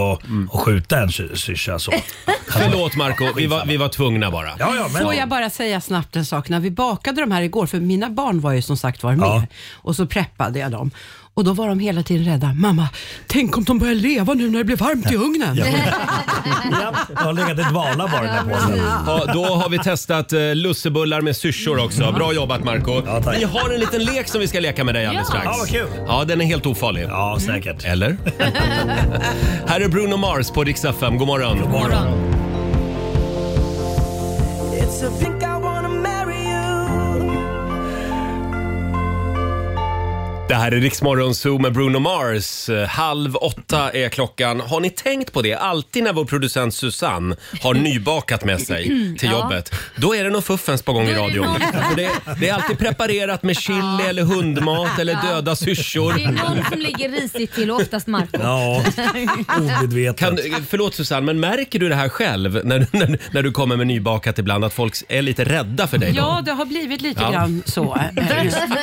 Speaker 4: att skjuta en sy- syrsa så.
Speaker 1: Mm. Förlåt Marco, vi var, vi var tvungna bara.
Speaker 7: Får jag bara säga snabbt en sak? När vi bakade de här igår, för mina barn var ju som sagt var med, och så preppade jag dem. Och då var de hela tiden rädda. Mamma, tänk om de börjar leva nu när det blir varmt i ugnen.
Speaker 4: Jag har legat i dvala bara den här påsen.
Speaker 1: Ja, då har vi testat eh, lussebullar med syrsor också. Bra jobbat Marco Vi har en liten lek som vi ska leka med dig alldeles
Speaker 4: Ja.
Speaker 1: strax.
Speaker 4: Ja, vad kul.
Speaker 1: Ja, den är helt ofarlig.
Speaker 4: Ja, säkert.
Speaker 1: Eller? Här är Bruno Mars på Rix FM. God morgon. God morgon.
Speaker 11: It's a think I wanna marry you.
Speaker 1: Det här är Rix Morgon Zoo med Bruno Mars. Eh, Halv åtta är klockan. Har ni tänkt på det? Alltid när vår producent Susanne har nybakat med sig till
Speaker 11: Ja.
Speaker 1: jobbet, då är det något fuffens på gång i radion. För det, det är alltid preparerat med chili eller hundmat eller döda syrsor.
Speaker 2: Det är någon som ligger risigt till och oftast Marco.
Speaker 1: Ja,
Speaker 4: obedvetet.
Speaker 1: Kan, förlåt Susanne, men märker du det här själv när, när, när du kommer med nybakat ibland, att folk är lite rädda för dig? då?
Speaker 7: Ja, det har blivit lite
Speaker 1: Ja.
Speaker 7: grann så.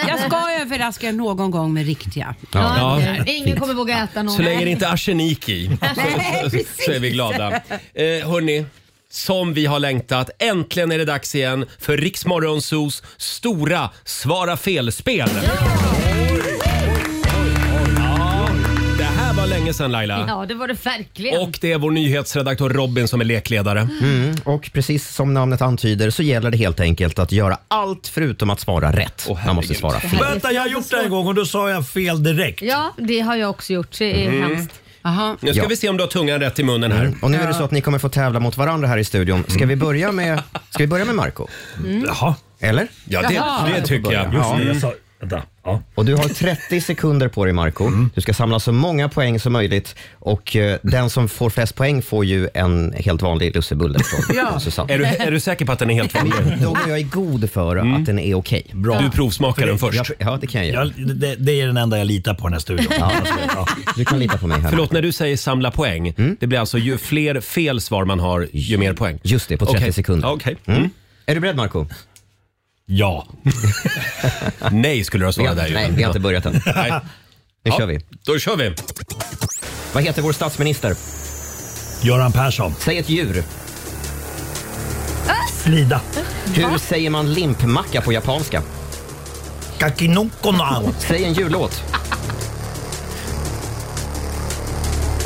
Speaker 7: Jag ska överraska er någon gång med riktiga.
Speaker 1: Ja. Ja, okej.
Speaker 2: Ingen kommer våga äta någon.
Speaker 1: Så länge det inte är arsenik i
Speaker 2: Nej,
Speaker 1: så,
Speaker 2: precis.
Speaker 1: så är vi glada. Eh, hörni, som vi har längtat. Äntligen är det dags igen för Riksmorgonsos stora Svara fel-spel. Ja, det här var länge sedan Laila.
Speaker 2: Ja, det var det verkligen.
Speaker 1: Och det är vår nyhetsredaktör Robin som är lekledare.
Speaker 6: Mm, och precis som namnet antyder så gäller det helt enkelt att göra allt förutom att svara rätt. Man måste svara fel.
Speaker 4: Vänta, jag har gjort det en gång och då sa jag fel direkt.
Speaker 2: Ja, det har jag också gjort. Det är
Speaker 1: Mm.
Speaker 6: Mhm.
Speaker 2: hemskt. Aha.
Speaker 1: Nu ska
Speaker 6: Ja. Mm.
Speaker 1: vi se om du har tungan rätt i munnen här.
Speaker 6: Och nu är det så att ni kommer få tävla mot varandra här i studion.
Speaker 1: Mm.
Speaker 6: Ska vi börja med, ska vi börja med Marco?
Speaker 2: Mm.
Speaker 4: Jaha.
Speaker 6: Eller?
Speaker 1: Ja, det- Jaha. det tycker jag. Mm.
Speaker 4: Just det, jag
Speaker 6: Ja.
Speaker 4: sa... Vänta. Ja.
Speaker 6: Och du har 30 sekunder på dig Marco.
Speaker 1: Mm.
Speaker 6: Du ska samla så många poäng som möjligt och eh, den som får flest poäng får ju en helt vanlig lussebulle från
Speaker 1: Ja.
Speaker 6: Susanne.
Speaker 1: Är du, är du säker på att den är helt vanlig? Mm.
Speaker 6: Då går jag i god för att den är okej.
Speaker 1: Bra. Du provsmakar den först.
Speaker 6: Ja, ja, det kan jag göra.
Speaker 4: Jag, det, det är den enda jag litar på i den här studion.
Speaker 6: Ja. Du kan lita på mig här.
Speaker 1: Förlåt, när du säger samla poäng, det blir alltså ju fler fel svar man har, ju mer poäng?
Speaker 6: Mm. Just det, på 30 sekunder.
Speaker 1: Okej.
Speaker 6: Mm. Är du beredd Marco?
Speaker 1: Ja. Nej skulle du ha svarat där ju.
Speaker 6: Nej, vi har inte börjat än.
Speaker 1: Nej.
Speaker 6: Nu kör vi.
Speaker 1: Då kör vi.
Speaker 6: Vad heter vår statsminister?
Speaker 4: Göran Persson.
Speaker 6: Säg ett djur.
Speaker 4: Slida.
Speaker 6: Hur säger man limpmacka på japanska?
Speaker 4: Kakinokona.
Speaker 6: Säg en jullåt.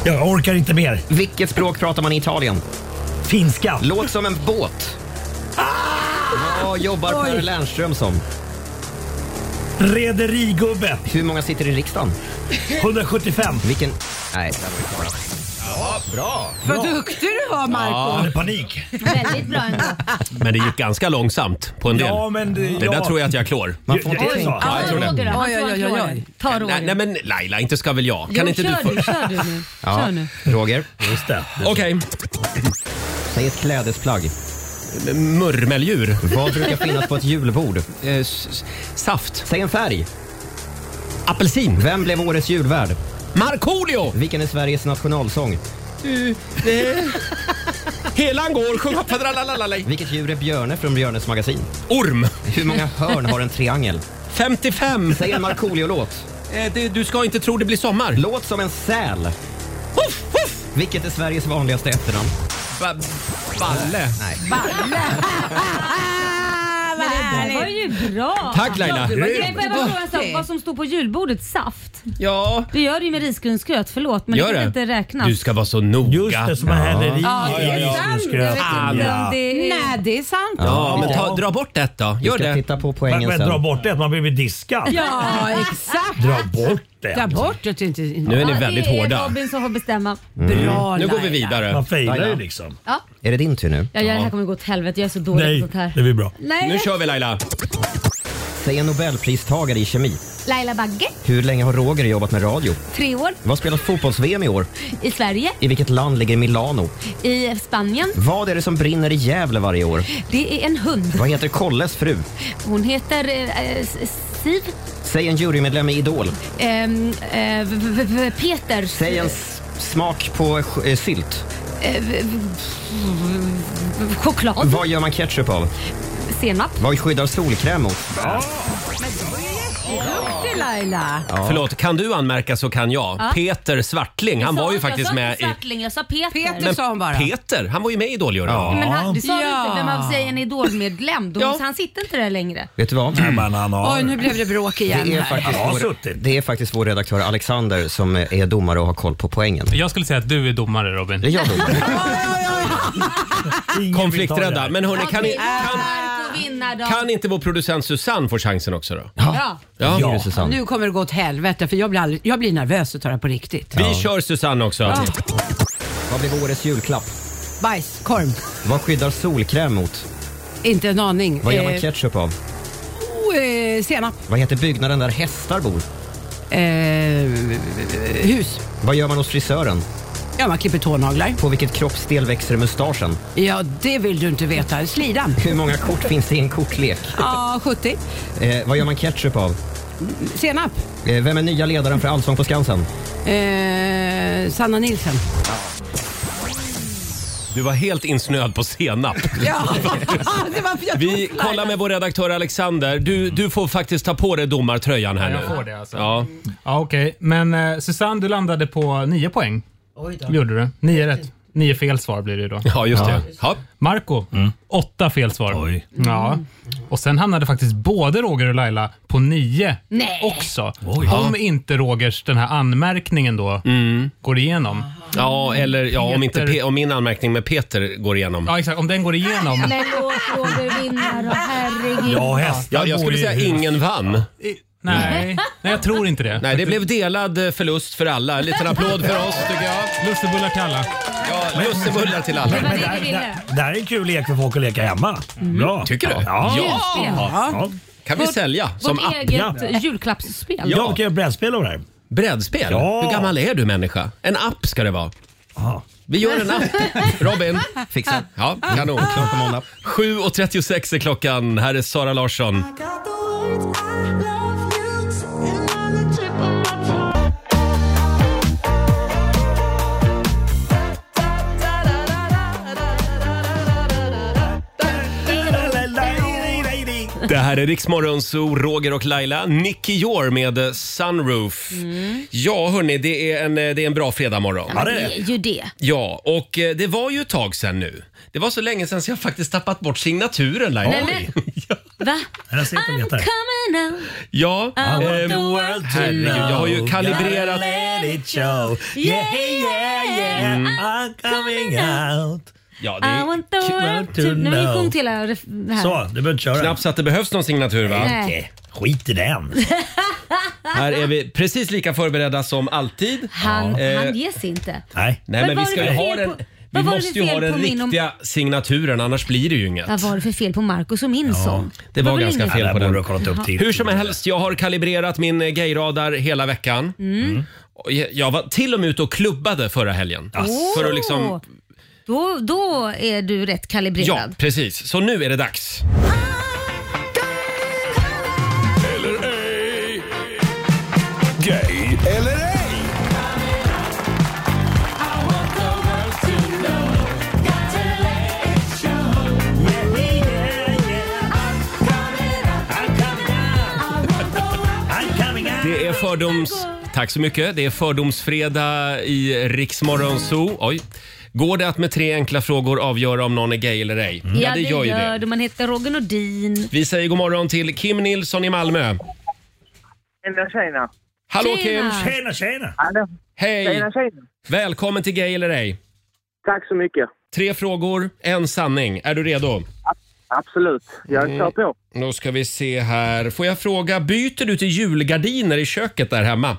Speaker 4: Jag orkar inte mer.
Speaker 6: Vilket språk pratar man i Italien?
Speaker 4: Finska. Ah!
Speaker 6: Låt som en båt. Vad jobbar Per Lernström som?
Speaker 4: Rederigubbe.
Speaker 6: Hur många sitter i riksdagen?
Speaker 4: 175.
Speaker 6: Vilken... Nej, där var det klara. Ja, bra.
Speaker 7: Vad duktig du var
Speaker 1: Ja.
Speaker 7: Marco
Speaker 1: Hade
Speaker 4: panik.
Speaker 2: Väldigt bra ändå.
Speaker 1: Men det gick ganska långsamt på en del.
Speaker 4: Ja, men det-
Speaker 1: det
Speaker 4: ja.
Speaker 1: där tror jag att jag klår.
Speaker 6: Man får
Speaker 2: Oj,
Speaker 6: inte tänka.
Speaker 1: Ja, jag tror det.
Speaker 2: Roger då. Han
Speaker 7: Oj,
Speaker 2: tror
Speaker 7: oj,
Speaker 2: han
Speaker 7: oj, oj.
Speaker 2: klarar det. Ta Roger.
Speaker 1: Nej, nej men Laila, inte ska väl jag? Kan
Speaker 2: Jo,
Speaker 1: inte du
Speaker 2: kör
Speaker 1: få...
Speaker 2: du, kör du nu.
Speaker 6: Ja,
Speaker 2: Kör nu.
Speaker 6: Roger,
Speaker 4: Just det.
Speaker 1: Okej.
Speaker 6: säg ett klädesplagg.
Speaker 1: Murmeldjur.
Speaker 6: Vad brukar finnas på ett julbord?
Speaker 1: Eh, s- s- saft.
Speaker 6: Säg en färg.
Speaker 1: Apelsin.
Speaker 6: Vem blev årets julvärd?
Speaker 1: Markoolio!
Speaker 6: Vilken är Sveriges nationalsång?
Speaker 2: Mm.
Speaker 1: Helan går, sjung upp fadralalalala.
Speaker 6: Vilket djur är Björne från Björnes magasin?
Speaker 1: Orm.
Speaker 6: Hur många hörn har en triangel?
Speaker 1: 55.
Speaker 6: Säg en Markoolio-låt.
Speaker 1: Eh, det, du ska inte tro det blir sommar.
Speaker 6: Låt som en säl.
Speaker 1: Huff, huff.
Speaker 6: Vilket är Sveriges vanligaste efternamn?
Speaker 1: Ba- balle.
Speaker 2: Men det där var ju bra.
Speaker 1: Tack, Laila.
Speaker 2: Jag vill bara fråga en sak. Vad som stod på julbordet, saft.
Speaker 1: Ja.
Speaker 2: Det gör det ju med risgrynsgröt, förlåt men
Speaker 1: Gör
Speaker 2: det kan
Speaker 1: det.
Speaker 2: inte räknas.
Speaker 1: Du ska vara så noga.
Speaker 4: Just det, som man häller i.
Speaker 7: Ja, det är sant.
Speaker 4: Ska jag-
Speaker 2: Jag vet inte om det är...
Speaker 7: Nej, det är sant.
Speaker 1: Ja, men ta, dra bort det då.
Speaker 6: Vi
Speaker 1: Gör
Speaker 6: ska
Speaker 1: det.
Speaker 6: titta på
Speaker 4: Men,
Speaker 6: poängen
Speaker 4: men dra
Speaker 6: sen.
Speaker 4: bort det, att man blir diskad.
Speaker 7: Ja, exakt.
Speaker 4: Dra bort
Speaker 7: Ta
Speaker 4: det.
Speaker 7: bort det. Inte,
Speaker 1: Nu är ni
Speaker 2: Ja,
Speaker 1: väldigt
Speaker 2: det är
Speaker 1: hårda.
Speaker 2: Robin som får bestämma.
Speaker 7: Bra
Speaker 1: Nu går vi
Speaker 7: Laila.
Speaker 1: vidare.
Speaker 4: Man failar ju
Speaker 6: Mm. Laila.
Speaker 4: liksom.
Speaker 2: Ja,
Speaker 6: Är det din tur nu?
Speaker 2: jag gör det här kommer gå åt helvete. Jag är så dålig på
Speaker 4: Nej,
Speaker 2: sånt här.
Speaker 4: det blir bra.
Speaker 2: Nej,
Speaker 1: Nu kör vi Laila.
Speaker 6: Säg en Nobelpristagare i kemi.
Speaker 2: Laila Bagge,
Speaker 6: Hur länge har Roger jobbat med radio?
Speaker 2: tre år,
Speaker 6: Vad spelas fotbolls-VM i år?
Speaker 2: i Sverige,
Speaker 6: I vilket land ligger Milano?
Speaker 2: i Spanien.
Speaker 6: Vad är det som brinner i Gävle varje år?
Speaker 2: Det är en hund.
Speaker 6: Vad heter Kolles fru?
Speaker 2: Hon heter eh, eh, Siv,
Speaker 6: Säg en jurymedlem i Idol.
Speaker 2: ehm, eh, v- v- v- Peter,
Speaker 6: Säg en s- smak på ch- eh, sylt.
Speaker 2: eh, v- v- v- choklad,
Speaker 6: Vad gör man ketchup av?
Speaker 2: senap.
Speaker 6: Vad skyddar solkräm mot?
Speaker 7: Duktig Laila.
Speaker 1: Förlåt, kan du anmärka så kan jag. Peter Svartling, han
Speaker 2: Jag
Speaker 1: var
Speaker 2: sa-
Speaker 1: ju faktiskt
Speaker 2: Jag
Speaker 1: med
Speaker 2: sa inte
Speaker 1: i...
Speaker 2: Svartling, jag sa Peter.
Speaker 7: Peter
Speaker 1: Men
Speaker 7: sa hon bara.
Speaker 1: Peter, han var ju med i Idoljuryn.
Speaker 2: Men han, det sa
Speaker 7: Ja.
Speaker 2: du inte. Vem av sig är en idolmedlem? Då,
Speaker 1: Ja.
Speaker 2: Han sitter inte där längre.
Speaker 6: Vet du vad?
Speaker 4: Nej, men han har...
Speaker 7: Oj, nu blev det bråk igen
Speaker 6: Det är,
Speaker 7: här.
Speaker 6: faktiskt
Speaker 4: Mm. Ja,
Speaker 6: vår,
Speaker 4: suttit.
Speaker 6: det är faktiskt vår redaktör Alexander som eh, är domare och har koll på poängen.
Speaker 14: Jag skulle säga att du är domare Robin.
Speaker 6: Det är jag domare.
Speaker 4: Ingen vill ta det här.
Speaker 1: Konflikträdda. Men hörni, kan, ni,
Speaker 2: Okej,
Speaker 1: kan,
Speaker 2: Marco vinner då.
Speaker 1: kan inte vår producent Susanne få chansen också då?
Speaker 2: Ja.
Speaker 1: Ja.
Speaker 6: Ja.
Speaker 7: Nu kommer det gå åt helvete för jag blir, aldrig, jag blir nervös att ta det här på riktigt.
Speaker 1: Vi kör Susanne också.
Speaker 6: Vad blir årets julklapp?
Speaker 7: Bajs, korv.
Speaker 6: Vad skyddar solkräm mot?
Speaker 7: Inte en aning.
Speaker 6: Vad gör man
Speaker 7: Eh,
Speaker 6: ketchup av?
Speaker 7: oh, eh, senap.
Speaker 6: Vad heter byggnaden där hästar bor?
Speaker 7: Eh, hus.
Speaker 6: Vad gör man hos frisören?
Speaker 7: Ja, man klipper tånaglar.
Speaker 6: På vilket kroppsdel växer mustaschen?
Speaker 7: Ja, det vill du inte veta. Slidan.
Speaker 6: Hur många kort finns i en kortlek?
Speaker 7: Ja, 70.
Speaker 6: Eh, vad gör man ketchup av?
Speaker 7: Senap.
Speaker 6: Eh, vem är nya ledaren för Allsång på Skansen?
Speaker 7: Eh, Sanna Nilsson.
Speaker 1: Du var helt insnöad på senap.
Speaker 7: Ja, det var för jag
Speaker 1: Vi
Speaker 7: tog
Speaker 1: kollar med vår redaktör Alexander. Du, du får faktiskt ta på dig domartröjan här
Speaker 14: Ja,
Speaker 1: nu.
Speaker 14: jag får det, alltså.
Speaker 1: Ja.
Speaker 14: Ja, okej. Men eh, Susanne, du landade på nio poäng. Gjorde du. Nio rätt. Nio fel svar blir det då.
Speaker 1: ja, just det. Ja. Mm.
Speaker 14: Marco, åtta fel svar.
Speaker 4: Oj.
Speaker 14: Ja. Och sen hamnade faktiskt både Roger och Laila på nio
Speaker 2: Nej.
Speaker 14: också. Om inte Rogers den här anmärkningen då går igenom.
Speaker 1: Mm. Ja, eller ja, om, inte
Speaker 14: Peter.
Speaker 1: Pe- om min anmärkning med Peter går igenom.
Speaker 14: Ja, exakt. Om den går igenom.
Speaker 2: Men låt Roger vinna då, herregud.
Speaker 4: Ja, hästar
Speaker 1: Ja, jag
Speaker 4: bor
Speaker 1: skulle
Speaker 4: ju i
Speaker 1: säga
Speaker 4: hus.
Speaker 1: ingen vann.
Speaker 14: I- Nej. Nej, jag tror inte det.
Speaker 1: Nej, det blev delad eh, förlust för alla. En liten applåd för oss tycker jag.
Speaker 14: Lussebullar till alla.
Speaker 1: Ja, lussebullar till alla.
Speaker 2: Vad
Speaker 4: Men
Speaker 2: är det vi
Speaker 4: det,
Speaker 2: ville?
Speaker 4: det, det här är en kul lek för folk att leka hemma. Bra.
Speaker 1: Tycker du?
Speaker 4: Ja.
Speaker 1: Ja.
Speaker 4: ja.
Speaker 1: Kan vi sälja som
Speaker 2: Vårt
Speaker 1: app?
Speaker 2: eget julklappsspel.
Speaker 1: Ja.
Speaker 4: Jag kan göra brädspel av det här.
Speaker 1: Brädspel?
Speaker 4: Ja.
Speaker 1: Hur gammal är du människa? En app ska det vara.
Speaker 4: Ja.
Speaker 1: Vi gör en app. Robin. Fixa. Ja, kanon.
Speaker 6: Klart på måndag.
Speaker 1: 7.36 är klockan. Här är Sara Larsson. Det här är Riksmorgon Zoo, Roger och Laila. Nicky Jor med eh, Sunroof. Ja, hörni, det är en, eh, det är en bra fredagmorgon.
Speaker 2: Ja, men det är ju det.
Speaker 1: Ja, och eh, det var ju ett tag sedan nu. Det var så länge sedan så jag faktiskt tappat bort signaturen Laila.
Speaker 2: Nej, men, va? I'm coming out.
Speaker 1: Ja,
Speaker 11: Ah,
Speaker 2: I want the world
Speaker 11: to
Speaker 1: Ehm, herregud, jag har ju
Speaker 11: know.
Speaker 1: kalibrerat...
Speaker 11: Gotta let it show.
Speaker 2: Yeah, yeah, yeah,
Speaker 1: Mm.
Speaker 11: I'm coming out.
Speaker 1: Ja,
Speaker 2: I want the world to... Nu vi sjung till här. det här.
Speaker 1: du behöver köra. Knappt så att det behövs någon signatur va?
Speaker 2: Nej. Okej,
Speaker 1: skit i den. Här är vi precis lika förberedda som alltid.
Speaker 2: Han,
Speaker 1: Eh,
Speaker 2: han ges inte.
Speaker 1: Nej,
Speaker 2: Vad
Speaker 1: men vi
Speaker 2: var
Speaker 1: ska
Speaker 2: det
Speaker 1: ju
Speaker 2: för
Speaker 1: ha
Speaker 2: fel
Speaker 1: den...
Speaker 2: på-
Speaker 1: Vi
Speaker 2: vad var det
Speaker 1: måste
Speaker 2: för
Speaker 1: ju
Speaker 2: fel
Speaker 1: ha
Speaker 2: på
Speaker 1: den
Speaker 2: min om-
Speaker 1: riktiga signaturen, annars blir det ju inget.
Speaker 2: Vad var det för fel på Marcus och min sång?
Speaker 1: Det var,
Speaker 2: väl
Speaker 1: ganska
Speaker 2: inget-
Speaker 1: fel på den.
Speaker 2: Jaha.
Speaker 1: Hur som helst, jag har kalibrerat min eh, gayradar hela veckan.
Speaker 2: Mm.
Speaker 1: Och jag- Jag var till och med ute och klubbade förra helgen.
Speaker 2: Åh,
Speaker 1: För att liksom...
Speaker 2: då, då är du rätt
Speaker 1: Ja,
Speaker 2: kalibrerad.
Speaker 1: precis. Så nu är det dags.
Speaker 13: Gay eller ej?
Speaker 1: Det är fördoms... Tack så mycket. Det är fördomsfredag i Riksmorgon Zoo. Oj. Går det att med tre enkla frågor avgöra om någon är gay eller ej?
Speaker 2: Mm. Ja, det gör det. Man heter Roger Nordin.
Speaker 1: Vi säger god morgon till Kim Nilsson i Malmö.
Speaker 15: Tjena, tjena.
Speaker 1: Hallå
Speaker 15: Tjena.
Speaker 1: Kim!
Speaker 15: Tjena,
Speaker 1: tjena!
Speaker 15: Hallå.
Speaker 1: Hej!
Speaker 15: Tjena, tjena.
Speaker 1: Välkommen till Gay eller ej.
Speaker 15: Tack så mycket.
Speaker 1: Tre frågor, en sanning. Är du redo? Mm.
Speaker 15: Absolut. Jag kör på.
Speaker 1: Då ska vi se här. Får jag fråga, byter du till julgardiner i köket där hemma?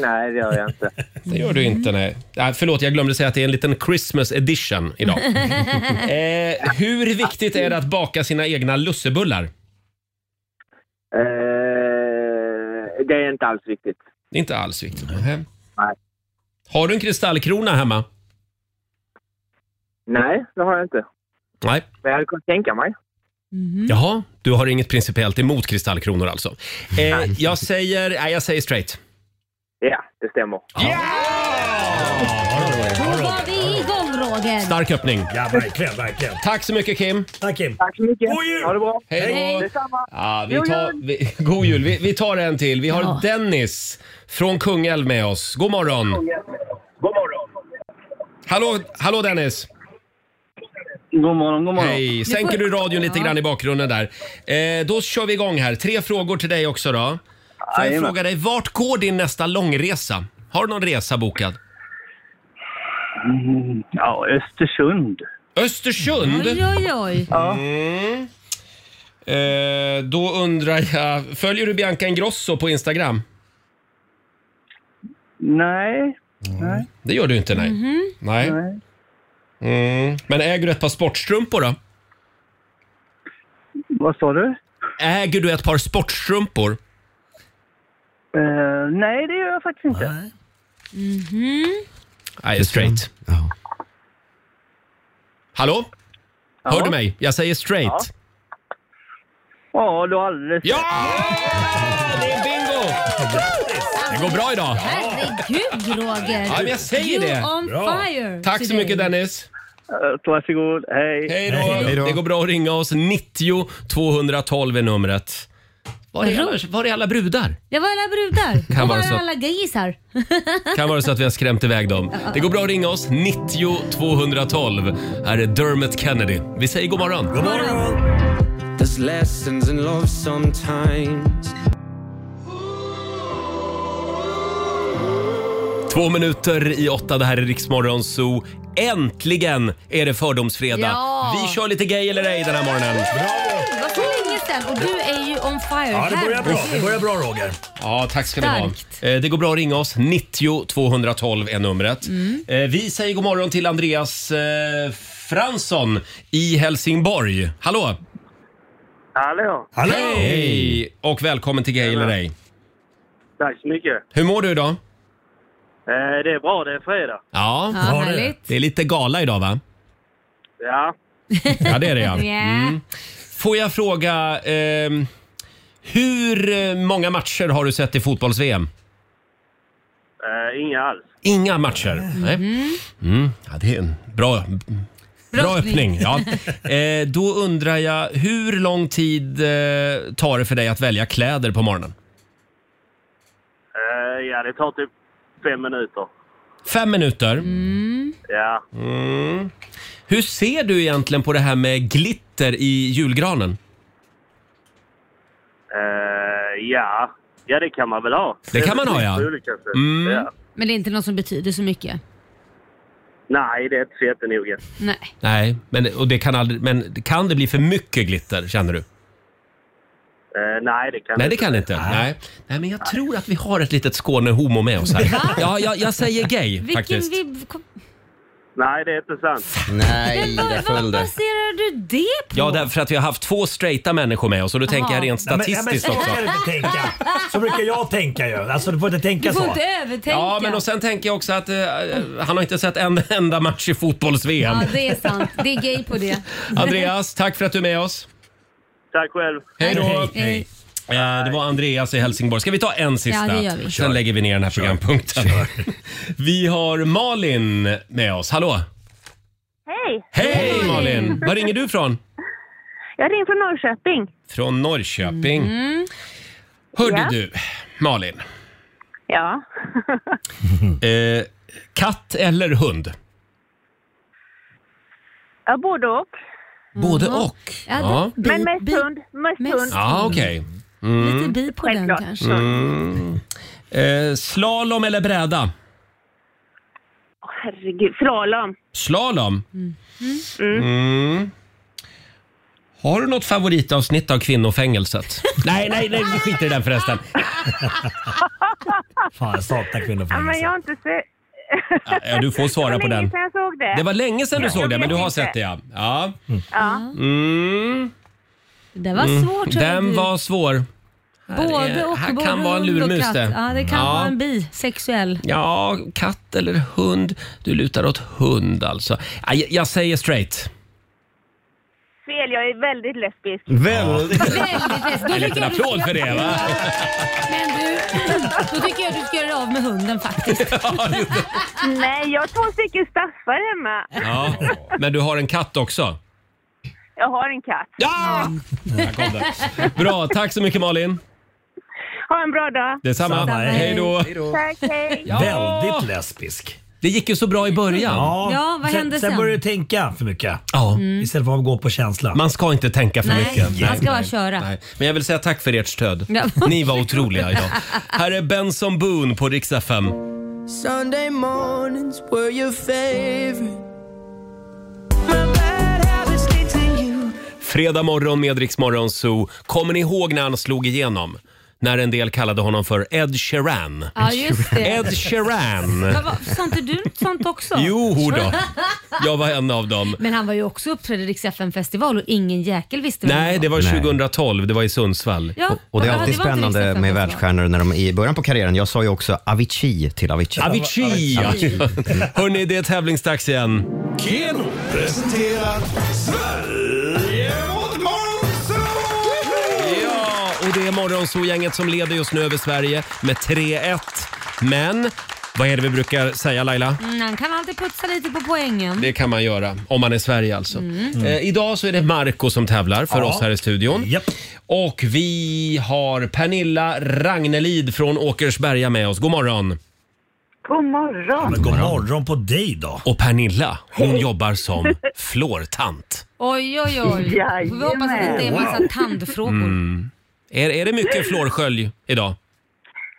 Speaker 15: Nej, det gör jag inte.
Speaker 1: Det gör du inte,
Speaker 2: Mm.
Speaker 1: nej. nej. Äh, Förlåt, jag glömde säga att det är en liten Christmas edition idag. eh, hur viktigt är det att baka sina egna lussebullar?
Speaker 15: Eh, det är inte alls viktigt.
Speaker 1: Det är inte alls viktigt. Nej.
Speaker 15: Nej.
Speaker 1: Har du en kristallkrona hemma?
Speaker 15: Nej, det har jag inte.
Speaker 1: Nej.
Speaker 15: Men jag hade kunnat tänka mig.
Speaker 1: Jaha, du har inget principiellt emot kristallkronor alltså? Eh, jag, säger, nej, jag säger straight.
Speaker 15: Ja, det stämmer.
Speaker 2: Då var vi igång Roger.
Speaker 1: Stark öppning.
Speaker 4: Ja, verkligen, verkligen.
Speaker 1: Tack så mycket Kim.
Speaker 4: Tack Kim.
Speaker 15: Tack så mycket.
Speaker 4: God jul!
Speaker 15: Ha det bra.
Speaker 1: Hej då. Hej.
Speaker 15: Detsamma.
Speaker 1: Ja, vi
Speaker 15: God
Speaker 1: tar, vi, god jul! Vi, vi tar en till. Vi har
Speaker 15: Ja.
Speaker 1: Dennis från Kungälv med oss. God morgon!
Speaker 15: God morgon.
Speaker 1: Hallå, hallå Dennis!
Speaker 15: God morgon, god
Speaker 1: morgon. Hej. Sänker
Speaker 15: Nu får-
Speaker 1: du radion lite
Speaker 15: Ja.
Speaker 1: grann i bakgrunden där. Eh, då kör vi igång här. Tre frågor till dig också då. Får jag
Speaker 15: Jajamän.
Speaker 1: fråga dig, vart går din nästa långresa? Har du någon resa bokad?
Speaker 15: Mm, Ja, Östersund.
Speaker 1: Östersund?
Speaker 2: Oj, oj, oj.
Speaker 1: Mm. Eh, då undrar jag, följer du Bianca Ingrosso på Instagram?
Speaker 15: Nej. Nej.
Speaker 1: Det gör du inte, nej.
Speaker 2: Mm-hmm.
Speaker 15: Mhm.
Speaker 1: Nej. Mm. Men äger du ett par sportstrumpor då?
Speaker 15: Vad sa du?
Speaker 1: Äger du ett par sportstrumpor?
Speaker 15: Eh, nej, det gör jag faktiskt inte.
Speaker 2: Mm-hmm.
Speaker 1: Nej, straight. Hallå? Hör
Speaker 15: Ja.
Speaker 1: du mig? Jag säger straight.
Speaker 15: Ja. Ja, du har alldeles
Speaker 1: Ja! Det är bingo! Det går bra idag.
Speaker 2: Herregud Roger.
Speaker 1: Ja, men jag säger
Speaker 2: you
Speaker 1: det.
Speaker 2: on
Speaker 1: Bra.
Speaker 2: fire
Speaker 1: Tack så
Speaker 2: today.
Speaker 1: mycket Dennis.
Speaker 15: Eh, Varsågod, hej.
Speaker 1: Hej då. Det går bra att ringa oss. 90 212 är numret. Var är alla, var är alla brudar?
Speaker 2: Det var alla brudar.
Speaker 1: Kan
Speaker 2: Kan
Speaker 1: vara
Speaker 2: var
Speaker 1: så.
Speaker 2: alla gaysar.
Speaker 1: Kan vara så att vi har skrämt iväg dem. Det går bra att ringa oss. 90 212. Här är Dermot Kennedy. Vi säger god morgon. God morgon.
Speaker 11: There's lessons in love sometimes.
Speaker 1: Två minuter i åtta. Det här är Riksmorgon Zoo. Äntligen är det fördomsfredag.
Speaker 2: Ja.
Speaker 1: Vi kör lite gay eller ej den här morgonen.
Speaker 2: Det var så länge sedan och du är ju on fire. Herregud.
Speaker 15: Eh,
Speaker 1: Roger. Ja, tack ska
Speaker 2: Starkt.
Speaker 1: ni ha. Eh, Det går bra att ringa oss. 90 212 är numret. Eh, Vi säger god morgon till Andreas eh, Fransson i Helsingborg. Hallå!
Speaker 15: Hallå.
Speaker 1: Hej! Och välkommen till Gay eller ej.
Speaker 15: Tack så mycket.
Speaker 1: Hur mår du idag?
Speaker 15: Eh, det är bra, det är fredag.
Speaker 1: Ja,
Speaker 15: Ja, Bra det. härligt.
Speaker 1: det är lite gala idag va?
Speaker 15: Ja.
Speaker 1: Ja, det är det ja.
Speaker 15: Ja.
Speaker 1: Mm. Får jag fråga, ehm, hur eh, många matcher har du sett i fotbolls-VM?
Speaker 15: Eh, inga alls.
Speaker 1: Inga matcher? Nej. Mm. Ja, det är en bra, Mm. Bra öppning. Ja. Eh, då undrar jag, hur lång tid eh, tar det för dig att välja kläder på morgonen?
Speaker 15: Eh, ja, det tar typ fem minuter.
Speaker 1: Fem minuter.
Speaker 15: Ja.
Speaker 1: Mm. Hur ser du egentligen på det här med glitter i julgranen?
Speaker 15: Eh, ja. ja, det kan man väl ha.
Speaker 1: Det kan man ha, ja.
Speaker 15: På olika sätt.
Speaker 1: Mm.
Speaker 15: ja.
Speaker 2: Men det är inte något som betyder så mycket.
Speaker 15: Nej, det är inte så jättenoga.
Speaker 2: Nej.
Speaker 1: Nej, men, och det kan, aldrig, men kan det bli för mycket glitter känner du?
Speaker 15: Eh, nej, det kan
Speaker 1: Nej,
Speaker 15: inte.
Speaker 1: det kan det inte. Nej. Nej, men jag tror att vi har ett litet Skåne-homo med oss här. Ja, jag, jag säger gay faktiskt.
Speaker 2: vibb... kom-
Speaker 15: Nej, det är inte sant.
Speaker 1: Nej,
Speaker 2: Men vad- Vad baserar du det på?
Speaker 1: Ja, därför att vi har haft två straighta människor med oss och då tänker jag rent
Speaker 4: Nej, men- nej, men
Speaker 1: statistiskt
Speaker 4: så
Speaker 1: också.
Speaker 4: kan du inte tänka. Så brukar jag tänka ju. Alltså du får inte tänka
Speaker 2: Du får
Speaker 4: så.
Speaker 2: inte övertänka.
Speaker 1: Ja, men och sen tänker jag också att eh, han har inte sett en enda match i fotbolls-VM.
Speaker 2: Ja, det är sant. Det är gay på det.
Speaker 1: Andreas, tack för att du är med oss.
Speaker 15: Tack själv.
Speaker 1: Hej då!
Speaker 2: Hej.
Speaker 1: Eh, Det var Andreas i Helsingborg. Ska vi ta en sista?
Speaker 2: Ja, det gör vi. Kör.
Speaker 1: Sen lägger vi ner den här programpunkten. Vi har Malin med oss. Hallå!
Speaker 16: Hej!
Speaker 1: Hej Malin! Var ringer du från?
Speaker 16: Jag ringer från Norrköping.
Speaker 1: Från Norrköping.
Speaker 2: Mm.
Speaker 5: Mm.
Speaker 1: Hörde
Speaker 16: Ja.
Speaker 1: du, Malin.
Speaker 16: Ja.
Speaker 2: Mm.
Speaker 1: Eh, katt eller hund?
Speaker 16: ja både och.
Speaker 1: Både och. Ja.
Speaker 16: Men mest hund. Mest hund.
Speaker 1: Ja, okej. Mm.
Speaker 2: Lite bi på den kanske.
Speaker 1: Mm. Eh, slalom eller bräda?
Speaker 16: Åh, herregud, slalom.
Speaker 1: Slalom.
Speaker 16: Mm.
Speaker 1: Mm. Har du något favoritavsnitt av Kvinnofängelset? nej, nej, nej, vi skiter i den förresten.
Speaker 4: Fan, jag saknar
Speaker 16: Ja, men
Speaker 4: kvinnofängelse.
Speaker 16: jag har inte sett...
Speaker 1: Ja, du får svara
Speaker 16: Det var
Speaker 1: på
Speaker 16: länge
Speaker 1: den.
Speaker 16: sedan jag såg det.
Speaker 1: Det var länge sedan du
Speaker 16: Jag
Speaker 1: såg det,
Speaker 16: vet
Speaker 1: men du har
Speaker 16: inte.
Speaker 1: sett det ja. ja.
Speaker 16: Ja.
Speaker 1: Mm.
Speaker 2: Det var
Speaker 1: Mm.
Speaker 2: svårt. hörru
Speaker 1: Den
Speaker 2: du.
Speaker 1: var svår. Här
Speaker 2: Både
Speaker 1: är-
Speaker 2: och.
Speaker 1: här
Speaker 2: både
Speaker 1: kan vara en
Speaker 2: hund och
Speaker 1: lurmus
Speaker 2: katt.
Speaker 1: det.
Speaker 2: Ja, det kan
Speaker 1: Ja.
Speaker 2: vara en bi. Sexuell.
Speaker 1: Ja, katt eller hund. Du lutar åt hund alltså. Ja, Jag, jag säger straight.
Speaker 16: Fel, jag är väldigt lesbisk.
Speaker 1: Väldigt.
Speaker 2: Väldigt
Speaker 1: En liten applåd för det va?
Speaker 2: Men du, då tycker jag att du ska göra av med hunden faktiskt.
Speaker 16: Nej, jag har två stycken staffar hemma.
Speaker 1: Ja, men du har en katt också.
Speaker 16: Jag har en katt.
Speaker 1: Ja! Där Mm. kom den. Bra, tack så mycket Malin.
Speaker 16: Ha en bra dag.
Speaker 1: Detsamma. Detsamma, hej. Hej då. Hej
Speaker 16: Tack, hej.
Speaker 4: Väldigt lesbisk.
Speaker 1: Det gick ju så bra i början.
Speaker 16: Ja, vad hände
Speaker 4: sen?
Speaker 16: sen?
Speaker 4: Sen började du tänka för mycket.
Speaker 1: Ja.
Speaker 4: Istället för att gå på känsla.
Speaker 1: Man ska inte tänka för
Speaker 2: Nej,
Speaker 1: mycket.
Speaker 2: man ska bara köra.
Speaker 1: Nej. Men jag vill säga tack för ert stöd.
Speaker 2: Ja.
Speaker 1: Ni var otroliga idag. Här är Benson Boone på Rix FM.
Speaker 11: Sunday mornings were your favorite.
Speaker 1: Fredag morgon med Rix Morgon Zoo. Kommer ni ihåg när han slog igenom? När en del kallade honom för Ed Sheeran.
Speaker 2: Ja, just det.
Speaker 1: Ed Sheeran.
Speaker 2: Vad var- Sa inte du sånt också?
Speaker 1: Jo då. Jag var en av dem.
Speaker 2: Men han var ju också uppträdd i Rix festival och ingen jäkel visste vem
Speaker 1: Nej, det var
Speaker 6: Nej.
Speaker 1: 2012. Det var i Sundsvall.
Speaker 2: Ja,
Speaker 6: Och, och det är
Speaker 2: ja,
Speaker 6: alltid
Speaker 2: det var inte
Speaker 6: spännande
Speaker 2: riktigt
Speaker 6: med
Speaker 2: sant.
Speaker 6: världsstjärnor när de är i början på karriären. Jag sa ju också Avicii till Avicii.
Speaker 1: Avicii! ja. Mm. Hörni, det är tävlingsdags igen.
Speaker 13: Keno presenterar Sverige mot morgonsol!
Speaker 1: Ja, och det är Morgonzoo-gänget som leder just nu över Sverige med 3-1. Men vad är det vi brukar säga Laila?
Speaker 2: Mm, han kan alltid putsa lite på poängen.
Speaker 1: Det kan man göra om man är Sverige alltså.
Speaker 2: Mm.
Speaker 1: Eh, idag så är det Marco som tävlar för
Speaker 2: Ja.
Speaker 1: oss här i studion. Och vi har Pernilla Ragnelid från Åkersberga med oss. God morgon!
Speaker 5: God morgon.
Speaker 1: god morgon på dig då! Och Pernilla, hon jobbar som flårtant.
Speaker 2: Oj, oj, oj. Vi
Speaker 5: Jajamän.
Speaker 2: hoppas att det inte är en massa tandfrågor.
Speaker 1: Mm. Är, är det mycket flårskölj idag?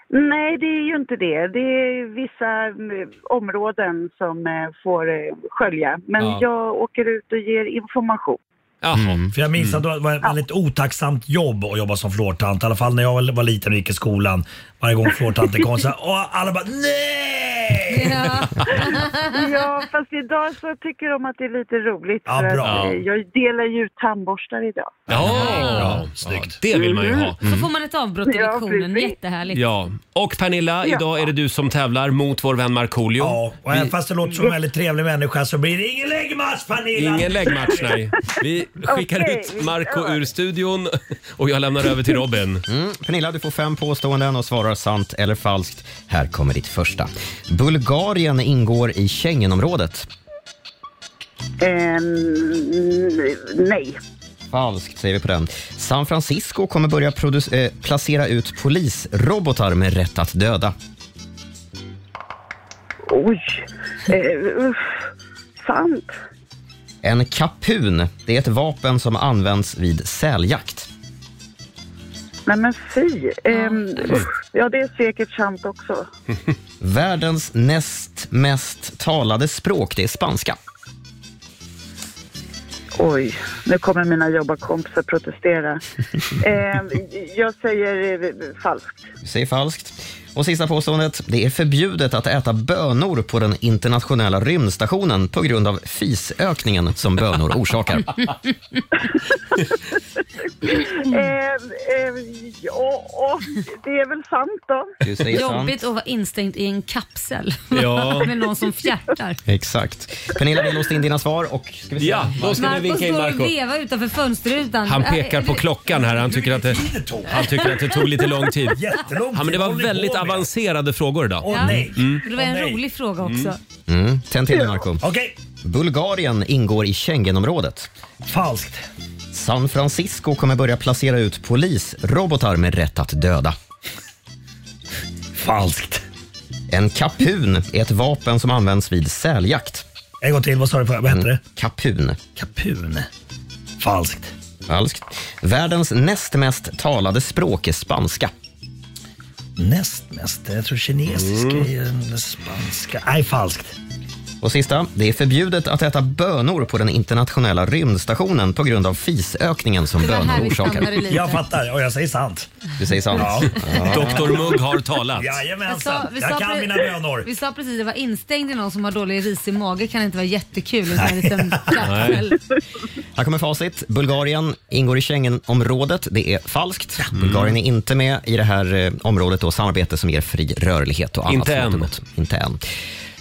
Speaker 5: Nej, det är ju inte det. Det är vissa eh, områden som eh, får eh, skölja. Men
Speaker 4: Ja.
Speaker 5: jag åker ut och ger information.
Speaker 4: Mm.
Speaker 6: Mm.
Speaker 4: För jag minns att det var ett väldigt otacksamt jobb att jobba som flårtant. I alla fall när jag var var liten och gick i skolan. Varje gång flårtanten kom så här, "Åh, alla bara nej!
Speaker 2: Ja.
Speaker 5: ja, fast idag så tycker de att det är lite roligt.
Speaker 4: Ja,
Speaker 5: för
Speaker 4: bra.
Speaker 5: att, eh, jag delar ju ut tandborstar idag.
Speaker 1: Ja, snyggt. Det vill man ju ha.
Speaker 2: Så får man ett avbrott i
Speaker 5: Ja,
Speaker 2: lektionen. Jättehärligt.
Speaker 1: Mm. Ja, och Pernilla,
Speaker 5: Ja.
Speaker 1: idag är det du som tävlar mot vår vän Markoolio. Ja,
Speaker 4: Och även fast det låter som en väldigt trevlig människa så blir det ingen läggmatch Pernilla!
Speaker 1: Ingen läggmatch, nej. Vi skickar
Speaker 4: Okej,
Speaker 1: ut Marco ur studion och jag lämnar över till Robin.
Speaker 6: Mm. Pernilla, du får fem påståenden och svarar sant eller falskt. Här kommer ditt första. Bulgarien ingår i Schengenområdet.
Speaker 5: Ehm, nej.
Speaker 6: Falskt säger vi på den. San Francisco kommer börja produc- eh, placera ut polisrobotar med rätt att döda.
Speaker 5: Oj. Eh, uff. sant.
Speaker 6: En kapun, det är ett vapen som används vid säljakt.
Speaker 5: Nej men fy. Ehm, usch. ja, det är säkert sant också.
Speaker 6: Världens näst mest talade språk, det är spanska.
Speaker 5: Oj, nu kommer mina jobbarkompisar protestera. Ehm, jag säger eh, falskt.
Speaker 6: Du säger falskt. Och sista påståendet. Det är förbjudet att äta bönor på den internationella rymdstationen på grund av fisökningen som bönor orsakar.
Speaker 1: Mm.
Speaker 5: Ehm, ehm, ja, det är väl sant då.
Speaker 6: Du säger sant.
Speaker 2: Jobbigt att vara instängd i en kapsel
Speaker 6: Ja.
Speaker 2: med någon som fjärtar.
Speaker 6: Exakt. Pernilla, vi låste in dina svar och ska vi se.
Speaker 1: Ja, då ska vi vinka in
Speaker 2: står
Speaker 1: Marco.
Speaker 2: och vevar utanför fönsterrutan. Äh,
Speaker 1: Han pekar på klockan här. Han tycker att det, han tycker att det tog lite lång tid.
Speaker 2: Jättelång
Speaker 1: Ja, men det
Speaker 2: tid.
Speaker 1: var
Speaker 2: Håller ni
Speaker 1: väldigt
Speaker 2: på med?
Speaker 1: avancerade frågor idag.
Speaker 2: Åh, nej.
Speaker 1: Mm.
Speaker 2: Det var en rolig fråga också.
Speaker 6: Mm. Tänd till dig, Marco. Bulgarien ingår i Schengenområdet.
Speaker 4: Falskt.
Speaker 6: San Francisco kommer börja placera ut polisrobotar med rätt att döda.
Speaker 4: Falskt.
Speaker 6: En kapun är ett vapen som används vid säljakt.
Speaker 4: En gång till, vad sa du? Vad
Speaker 6: Mm.
Speaker 4: hette det?
Speaker 6: Kapun.
Speaker 4: Kapun. Falskt.
Speaker 6: Falskt. Världens näst mest talade språk är spanska.
Speaker 4: Näst mest. Jag tror kinesiska
Speaker 6: Mm.
Speaker 4: är den spanska. Nej, falskt.
Speaker 6: Och sista, det är förbjudet att äta bönor på den internationella rymdstationen på grund av fisökningen som
Speaker 4: Det var här
Speaker 6: bönor
Speaker 4: vi
Speaker 6: orsakar.
Speaker 4: stannade lite. Jag fattar och jag säger sant.
Speaker 6: Du säger sant.
Speaker 4: Ja.
Speaker 1: Dr Mugg har talat.
Speaker 2: Vi sa- vi sa
Speaker 4: jag kan
Speaker 2: pre-
Speaker 4: mina bönor.
Speaker 2: Vi sa precis att vara instängd i någon som har dålig risig mage kan inte vara jättekul. utan En liten kapsel.
Speaker 6: Här kommer facit. Bulgarien ingår i Schengenområdet. Det är falskt. Bulgarien är inte med i det här eh, området och samarbete som ger fri rörlighet och annat.
Speaker 1: Inte
Speaker 6: smått och
Speaker 1: än.
Speaker 6: gott. Inte än.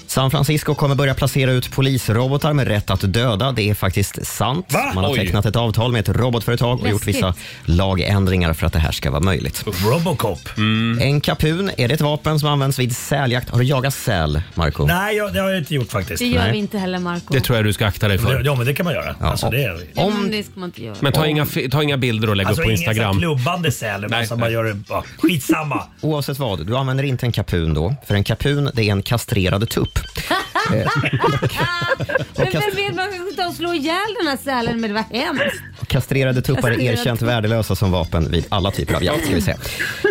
Speaker 6: San Francisco kommer börja placera ut polisrobotar med rätt att döda. Det är faktiskt sant.
Speaker 4: Va?
Speaker 6: Man har
Speaker 4: Oj.
Speaker 6: tecknat ett avtal med ett robotföretag och gjort
Speaker 4: Läskigt.
Speaker 6: vissa lagändringar för att det här ska vara möjligt. Mm.
Speaker 4: Robocop.
Speaker 6: En kapun, är det ett vapen som används vid säljakt? Har du jagat säl, Marco?
Speaker 4: Nej, jag, det har jag inte gjort faktiskt.
Speaker 2: Det gör
Speaker 6: Nej.
Speaker 2: vi inte heller Marco.
Speaker 1: Det tror jag du ska akta dig för.
Speaker 4: Ja, men det kan man göra.
Speaker 6: Ja,
Speaker 4: Alltså, det är...
Speaker 2: Ja, men det ska man inte göra.
Speaker 1: Men ta inga, fi- ta inga bilder och lägg
Speaker 4: Alltså
Speaker 1: upp på
Speaker 4: ingen sån
Speaker 1: Instagram.
Speaker 4: klubbande säl, utan
Speaker 1: Nej,
Speaker 4: som
Speaker 1: nej.
Speaker 4: man gör det... Ja, skitsamma.
Speaker 6: Oavsett vad, du använder inte en kapun då. För en kapun, det är en kastrerad tupp. Eh,
Speaker 2: Men vem vet, man kanske ta och slå ihjäl den här sälen men det var hemskt.
Speaker 6: och Kastrerade tuppar är
Speaker 2: Kastrerad
Speaker 6: erkänt
Speaker 2: tupp.
Speaker 6: värdelösa som vapen vid alla typer av jakt. Ska vi säga.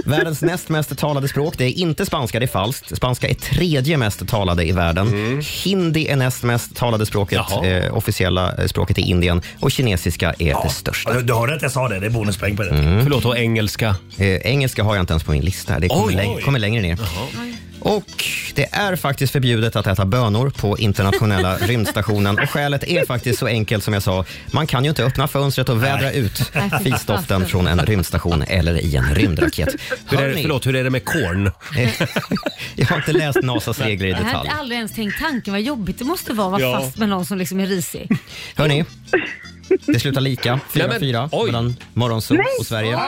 Speaker 6: Världens näst mest talade språk, det är inte spanska, det är falskt. Spanska är tredje mest talade i världen.
Speaker 1: Mm.
Speaker 6: Hindi är näst mest talade språket, eh, officiella eh, språket i Indien. Och kinesiska är det största.
Speaker 4: Du, du hörde att jag sa det, det är bonuspoäng på det.
Speaker 6: Mm.
Speaker 1: Mm. Förlåt, och engelska?
Speaker 6: Eh, engelska har jag inte ens på min lista. Det kommer,
Speaker 4: Oj.
Speaker 6: läng- kommer längre ner. Och det är faktiskt förbjudet att äta bönor på internationella rymdstationen. Och skälet är faktiskt så enkelt som jag sa. Man kan ju inte öppna fönstret och vädra ut
Speaker 1: Nej, fy
Speaker 6: fisdoften
Speaker 1: fasen.
Speaker 6: från en rymdstation eller i en rymdraket.
Speaker 1: Hur är det,
Speaker 6: Hörni,
Speaker 1: förlåt, hur är det med korn?
Speaker 6: jag har inte läst NASAs regler i
Speaker 2: Jag hade
Speaker 6: detalj.
Speaker 2: aldrig ens tänkt tanken vad jobbigt det måste vara att vara
Speaker 6: Ja.
Speaker 2: fast med någon som liksom är risig.
Speaker 6: Hörni, det slutar lika.
Speaker 1: Nej, men-
Speaker 6: 4-4 mellan Morgonzoo och Sverige.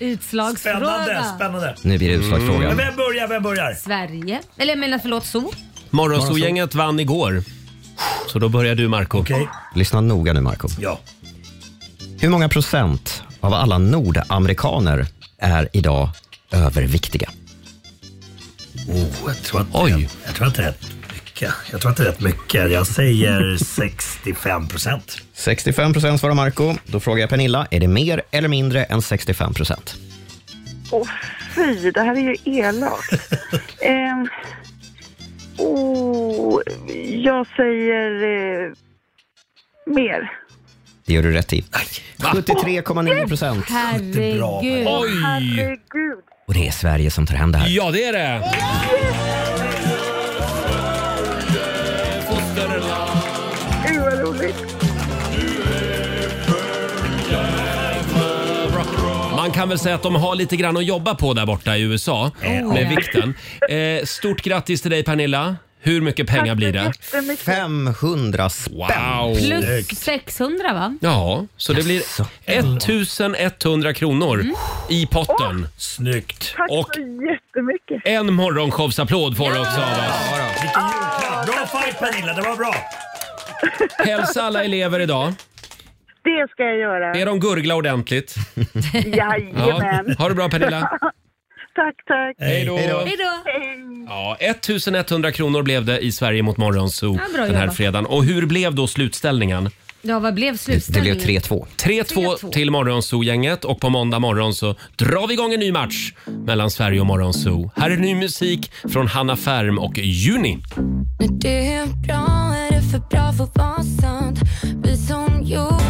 Speaker 2: Utslagsfråga.
Speaker 4: Spännande, spännande.
Speaker 6: Nu blir det utslagsfråga.
Speaker 4: Men vem börjar, vem börjar?
Speaker 2: Sverige. Eller jag menar förlåt, zoo.
Speaker 1: Morgonzoo-gänget vann igår. Så då börjar du Marco.
Speaker 6: Lyssna noga nu Marco.
Speaker 4: Ja.
Speaker 6: Hur många procent av alla nordamerikaner är idag överviktiga?
Speaker 4: Oh, jag tror att Oj. Jag tror att det är rätt mycket. Jag tror att det är rätt mycket. Jag säger 65 procent.
Speaker 6: 65 procent svarar Marco. Då frågar jag Pernilla, är det mer eller mindre än 65 procent?
Speaker 5: Åh fy, det här är ju elakt. Ehm, oh, jag säger eh, mer.
Speaker 6: Det gör du rätt i. 73,9 procent.
Speaker 2: Herregud.
Speaker 1: Oj.
Speaker 5: Herregud.
Speaker 6: Och det är Sverige som tar hem det här.
Speaker 1: Ja, det är det!
Speaker 5: Gud vad roligt.
Speaker 1: Man kan väl säga att de har lite grann att jobba på där borta i USA
Speaker 5: Oh,
Speaker 1: med
Speaker 5: ja.
Speaker 1: vikten. Eh, stort grattis till dig Pernilla. Hur mycket pengar blir det?
Speaker 5: jättemycket.
Speaker 6: 500 spänn.
Speaker 1: Wow!
Speaker 2: Plus 600 va?
Speaker 1: Ja, så det blir 1100 kronor i potten.
Speaker 4: Snyggt!
Speaker 5: Mm. Tack
Speaker 1: Och
Speaker 5: så jättemycket.
Speaker 1: en morgonshowsapplåd får du också av oss.
Speaker 5: Vilken julklapp! Bra
Speaker 4: fight Pernilla, det var bra.
Speaker 1: Hälsa alla elever idag.
Speaker 5: Det ska jag göra.
Speaker 1: Be dem gurgla ordentligt.
Speaker 5: Jajamän.
Speaker 1: Ja. Ha det bra, Pernilla.
Speaker 5: tack, tack.
Speaker 1: Hej då. Hej då.
Speaker 5: Hej
Speaker 1: Ja, 1100 kronor blev det i Sverige mot Morgonzoo
Speaker 2: Ja, bra
Speaker 1: den här
Speaker 2: jobbat.
Speaker 1: fredagen. Och hur blev då slutställningen?
Speaker 2: Ja, vad blev slutställningen?
Speaker 1: 3-2 till Morgonzoo-gänget och på måndag morgon så drar vi igång en ny match mellan Sverige och Morgonzoo. Här är ny musik från Hanna Färm och Juni.
Speaker 3: När det är bra är det för bra för att vara sant Vi som gjort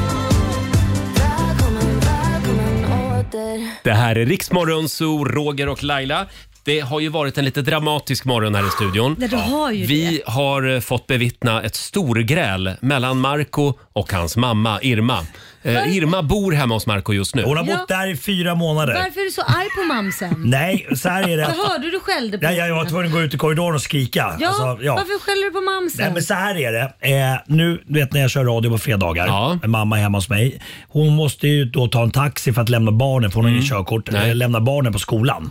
Speaker 3: Välkommen, välkommen åter
Speaker 1: Det här är Riksmorgonzoo, Roger och Laila. Det har ju varit en lite dramatisk morgon här i studion.
Speaker 2: Ja, det har ju
Speaker 1: Vi har eh, fått bevittna ett storgräl mellan Marco och hans mamma Irma. Eh, Irma bor hemma hos Marco just nu.
Speaker 4: Hon har bott där i fyra månader.
Speaker 2: Varför är du så arg på mamsen?
Speaker 4: Nej, så här är det.
Speaker 2: Jag hörde du skällde på
Speaker 4: Nej, jag, jag var
Speaker 2: henne.
Speaker 4: tvungen att gå ut i korridoren och skrika.
Speaker 2: Ja,
Speaker 4: Alltså, ja.
Speaker 2: varför skäller du på mamsen?
Speaker 4: Nej men så här är det. Eh, nu du vet när jag kör radio på fredagar. Med mamma hemma hos mig. Hon måste ju då ta en taxi för att lämna barnen för hon har
Speaker 1: Mm.
Speaker 4: inget körkort. Eh, lämna barnen på skolan.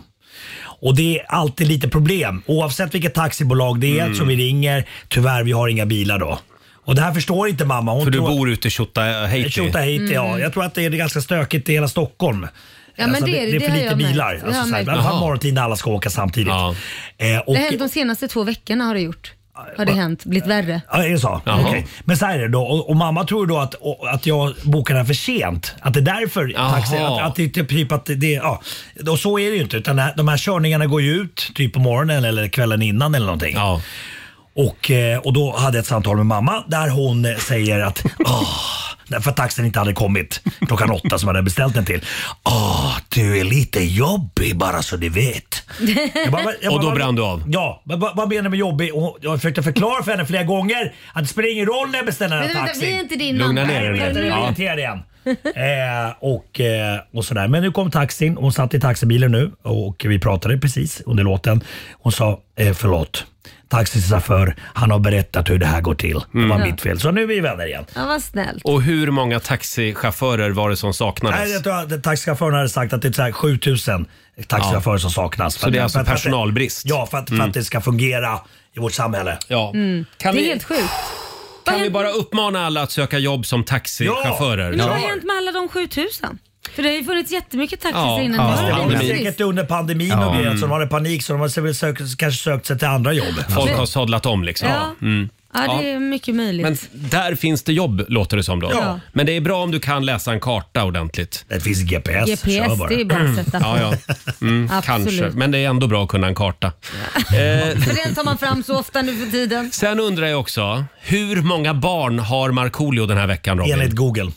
Speaker 4: Och det är alltid lite problem. Oavsett vilket taxibolag det är
Speaker 1: Mm.
Speaker 4: som vi ringer. Tyvärr vi har inga bilar då. Och det här förstår inte mamma. Hon
Speaker 1: För du
Speaker 4: tror-
Speaker 1: bor ute i eh, Tjotahejti.
Speaker 4: Tjotahejti, ja.
Speaker 2: Mm.
Speaker 4: Jag tror att det är ganska stökigt i hela Stockholm. Alltså,
Speaker 2: Ja, men det är det.
Speaker 4: det är för
Speaker 2: Det har
Speaker 4: lite
Speaker 2: jag märkt.
Speaker 4: bilar.
Speaker 2: Det har
Speaker 4: Alltså,
Speaker 2: jag
Speaker 4: så här,
Speaker 2: märkt.
Speaker 4: I alla fall
Speaker 2: Jaha.
Speaker 4: morgontid när alla ska åka samtidigt. Eh, och,
Speaker 2: Det har hänt de senaste två veckorna har det gjort. Har det hänt? Blivit värre?
Speaker 4: Ja, är det så?
Speaker 2: Jaha.
Speaker 4: Okej. Men så här är det då. Och, och mamma tror då att, och, att jag bokar den för sent. Att det är därför taxi, att, att det är typ att det- det, ja. Och så är det ju inte. Utan det här- de här körningarna går ju ut typ på morgonen eller kvällen innan eller någonting. Och, eh, och då hade jag ett samtal med mamma där hon eh, säger att "Åh, Därför att taxin inte hade kommit klockan åtta som jag hade beställt den till. Åh, du är lite jobbig bara så du Alltså, vet. Jag bara, jag
Speaker 1: Och då
Speaker 4: bara,
Speaker 1: brann du av?
Speaker 4: Ja, men vad, vad menar du med jobbig? Och hon- jag försökte förklara för henne flera gånger att det spelar ingen roll när jag beställer en
Speaker 2: Men vänta,
Speaker 4: taxi.
Speaker 2: vi är inte din Lugna mamma. ner er
Speaker 4: Nej, jag
Speaker 2: nu.
Speaker 4: vet, jag
Speaker 2: Ja.
Speaker 4: är irriterad igen. eh, och, eh, och sådär. Men nu kom taxin. Hon satt i taxibilen nu och vi pratade precis under låten. Hon sa eh, förlåt. Taxichaufför, han har berättat hur det här går till. Det var
Speaker 2: Ja.
Speaker 4: mitt fel. Så nu är vi vänner igen.
Speaker 2: Mm. Ja, vad snällt.
Speaker 1: Och hur många taxichaufförer var det som saknades?
Speaker 4: Nej, jag tror att taxichauffören hade sagt att det är så här 7000 taxichaufförer
Speaker 1: Ja.
Speaker 4: som saknas.
Speaker 1: Så
Speaker 4: För att-
Speaker 1: det är alltså
Speaker 4: för att- för att-
Speaker 1: personalbrist?
Speaker 4: Ja, för att, för
Speaker 1: Mm.
Speaker 4: att det ska fungera i vårt samhälle.
Speaker 1: Ja.
Speaker 2: Mm.
Speaker 1: Kan
Speaker 2: det är
Speaker 1: vi-
Speaker 2: helt sjukt.
Speaker 1: Kan vi bara uppmana alla att söka jobb som taxichaufförer?
Speaker 2: Men vad har hänt med alla de 7000? För det har ju funnits jättemycket taxis
Speaker 1: Ja,
Speaker 2: innan.
Speaker 1: ja.
Speaker 2: det var
Speaker 4: Det är
Speaker 1: Pandemi.
Speaker 4: säkert under pandemin
Speaker 1: Ja.
Speaker 4: och grejer,
Speaker 1: Mm.
Speaker 4: så de hade panik så de hade sökt, kanske sökt sig till andra jobb.
Speaker 1: Folk har sadlat om liksom.
Speaker 2: Ja.
Speaker 1: Mm.
Speaker 2: Ja, det är mycket möjligt.
Speaker 1: Men där finns det jobb låter det som då.
Speaker 2: Ja.
Speaker 1: Men det är bra om du kan läsa en karta ordentligt.
Speaker 4: Det finns GPS.
Speaker 2: GPS, kör bara. det är bara att sätta på.
Speaker 1: ja, ja. Mm,
Speaker 2: Absolut.
Speaker 1: Kanske, men det är ändå bra att kunna en karta. Eh,
Speaker 2: För den tar man fram så ofta nu för tiden.
Speaker 1: sen undrar jag också, hur många barn har Markoolio den här veckan Robin?
Speaker 4: Enligt Google.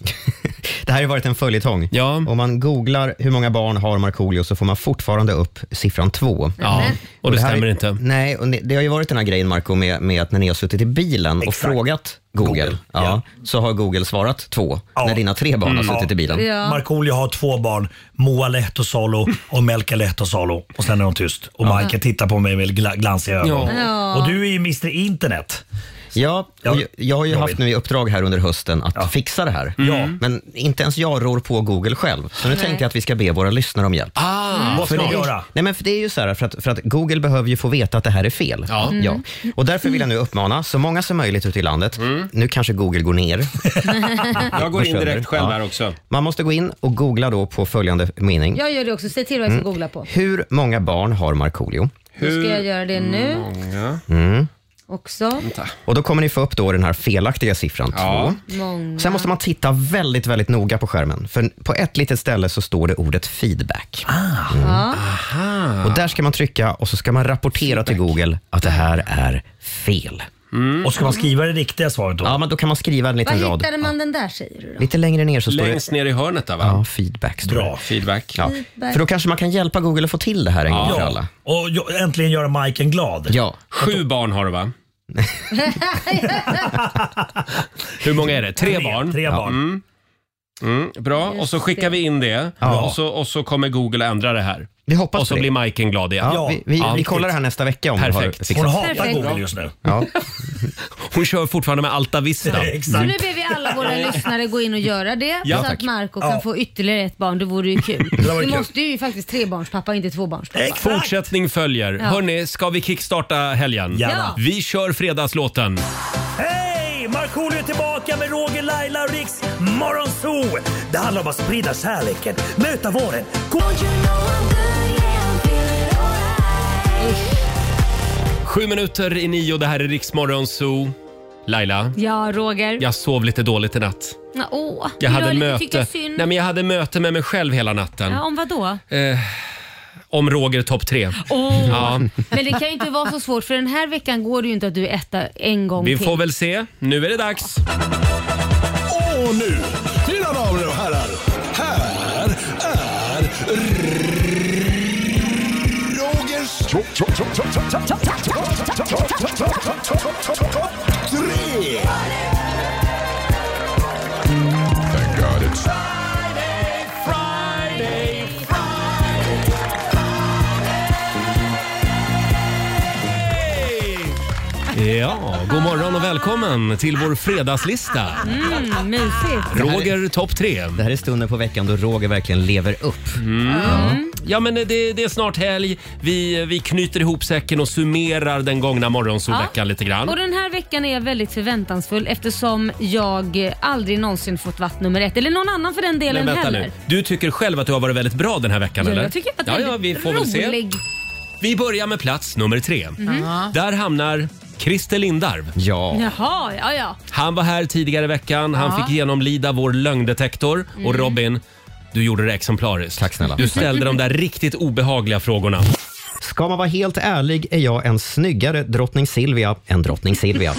Speaker 6: Det här har varit en följetong. Om man googlar hur många barn har Markoolio så får man fortfarande upp siffran två. Mm.
Speaker 1: Ja, och det
Speaker 6: här-
Speaker 1: stämmer inte.
Speaker 6: Nej, och ne- det har ju varit den här grejen Marco med, med att när ni har suttit i bilen och frågat Google, ja, Mm. så har Google svarat två när dina tre barn har suttit i bilen.
Speaker 4: Ja. Markoolio har två barn, Moa Lehtosalo och Melka Lehtosalo. Och sen är hon tyst. Och
Speaker 6: Ja.
Speaker 4: Michael tittar på mig med gla- glansiga ögon.
Speaker 6: Ja. Ja.
Speaker 4: Och du är ju Mr Internet.
Speaker 6: Ja, och jag, jag har ju haft nu i uppdrag här under hösten att fixa det här.
Speaker 4: Ja.
Speaker 2: Mm.
Speaker 6: Men inte ens jag rår på Google själv. Så nu
Speaker 4: Nej.
Speaker 6: tänkte jag att vi ska be våra lyssnare om hjälp. Mm.
Speaker 1: Ah,
Speaker 4: Vad ska
Speaker 6: För
Speaker 4: vi
Speaker 6: det är-
Speaker 4: göra?
Speaker 6: Nej, men för det är ju så här, för att, för att Google behöver ju få veta att det här är fel. Ja.
Speaker 4: Mm.
Speaker 6: Ja. Och därför vill jag nu uppmana så många som möjligt ute i landet. Nu kanske Google går ner.
Speaker 1: Jag går in
Speaker 6: Försvinner.
Speaker 1: direkt själv
Speaker 6: Ja.
Speaker 1: här också.
Speaker 6: Man måste gå in och googla då på följande mening.
Speaker 2: Jag gör det också. Säg till vad jag ska
Speaker 6: Mm.
Speaker 2: googla på.
Speaker 6: Hur många barn har Markoolio?
Speaker 2: Hur ska jag göra det
Speaker 1: Mm.
Speaker 2: nu
Speaker 6: Många. Mm.
Speaker 2: också?
Speaker 6: Och då kommer ni få upp då den här felaktiga siffran två.
Speaker 2: Många.
Speaker 6: Sen måste man titta väldigt, väldigt noga på skärmen. För på ett litet ställe så står det ordet feedback. Ah.
Speaker 2: Ja.
Speaker 1: Ah.
Speaker 6: Och där ska man trycka och så ska man rapportera till Google att det här är fel.
Speaker 1: Mm.
Speaker 4: Och ska man skriva det riktiga svaret då?
Speaker 6: Ja, men då kan man skriva en
Speaker 2: Vad
Speaker 6: liten rad.
Speaker 2: hittade man den där säger du då?
Speaker 6: Lite längre ner så står det...
Speaker 1: Längst ner i hörnet där va?
Speaker 6: Ja, feedback står Bra.
Speaker 1: Feedback.
Speaker 6: Ja.
Speaker 2: Feedback.
Speaker 6: För då kanske man kan hjälpa Google att få till det här en gång för alla.
Speaker 4: Och jag- äntligen göra Majken glad.
Speaker 6: Ja.
Speaker 1: Sju barn har du va? Hur många är det? Tre, barn?
Speaker 4: Tre
Speaker 1: Ja.
Speaker 4: barn.
Speaker 1: Mm. Mm, bra, och så skickar vi in det
Speaker 6: Ja.
Speaker 1: och, så, och så kommer Google att ändra det här.
Speaker 6: Vi hoppas
Speaker 1: och så
Speaker 6: på det.
Speaker 1: blir Majken glad igen.
Speaker 6: Ja, vi, vi,
Speaker 1: Ja.
Speaker 6: vi kollar det här nästa vecka om
Speaker 1: Perfekt.
Speaker 6: du har
Speaker 1: Hon hatar Perfekt. Google just nu. Hon kör fortfarande med Alta Vista. Mm.
Speaker 2: Så nu ber vi alla våra lyssnare gå in och göra det
Speaker 1: Ja,
Speaker 2: så
Speaker 1: tack.
Speaker 2: att Marco
Speaker 1: Ja.
Speaker 2: kan få ytterligare ett barn. Det vore ju kul.
Speaker 1: Det var
Speaker 2: Du
Speaker 1: kul.
Speaker 2: måste ju faktiskt trebarnspappa, inte tvåbarnspappa.
Speaker 1: Fortsättning följer.
Speaker 2: Ja.
Speaker 1: Hörni, ska vi kickstarta helgen?
Speaker 2: Ja.
Speaker 1: Vi kör fredagslåten.
Speaker 4: Hej! Markoolio är tillbaka med Roger, Laila och Riks Morgonzoo! Det handlar om att sprida kärleken, möta våren. Kom-
Speaker 1: Sju minuter i nio, det här är Riksmorgon Zoo. Laila,
Speaker 2: Ja, Roger.
Speaker 1: jag sov lite dåligt i natt.
Speaker 2: Nå, åh,
Speaker 1: Jag
Speaker 2: du
Speaker 1: hade,
Speaker 2: har lite-
Speaker 1: möte.
Speaker 2: tycker synd.
Speaker 1: Nej, men jag hade möte med mig själv hela natten.
Speaker 2: ja, om vad då?
Speaker 1: Eh, om Roger topp tre.
Speaker 2: Åh.
Speaker 1: Ja.
Speaker 2: Men det kan ju inte vara så svårt för den här veckan går det ju inte att du är etta en gång
Speaker 1: Vi
Speaker 2: till.
Speaker 1: får väl se. Nu är det dags.
Speaker 13: Och nu, mina damer och herrar, här är Rogers tre.
Speaker 1: Ja, god morgon och välkommen till vår fredagslista.
Speaker 2: Mm, mysigt.
Speaker 1: Roger topp tre. Mm.
Speaker 6: Det här är stunden på veckan då Roger verkligen lever upp.
Speaker 1: Ja, men det, det är snart helg. Vi, vi knyter ihop säcken och summerar den gångna morgonsovveckan
Speaker 2: Ja.
Speaker 1: lite grann.
Speaker 2: Och den här veckan är jag väldigt förväntansfull eftersom jag eh, aldrig någonsin fått vatt nummer ett. Eller någon annan för den delen
Speaker 1: Men vänta
Speaker 2: heller.
Speaker 1: nu. Du tycker själv att du har varit väldigt bra den här veckan,
Speaker 2: Ja,
Speaker 1: eller?
Speaker 2: jag tycker att
Speaker 1: ja,
Speaker 2: det är
Speaker 1: ja, vi får väl se.
Speaker 2: rolig.
Speaker 1: Vi börjar med plats nummer tre.
Speaker 2: Mhm. Ja.
Speaker 1: Där hamnar Christer Lindarw.
Speaker 2: Jaha, ja ja.
Speaker 1: Han var här tidigare i veckan. Han
Speaker 2: Ja.
Speaker 1: fick genomlida vår lögndetektor.
Speaker 2: Mm.
Speaker 1: Och Robin, du gjorde det exemplariskt. Tack
Speaker 6: snälla.
Speaker 1: Du ställde de där riktigt obehagliga frågorna.
Speaker 6: Ska man vara helt ärlig är jag en snyggare drottning Silvia än drottning Silvia.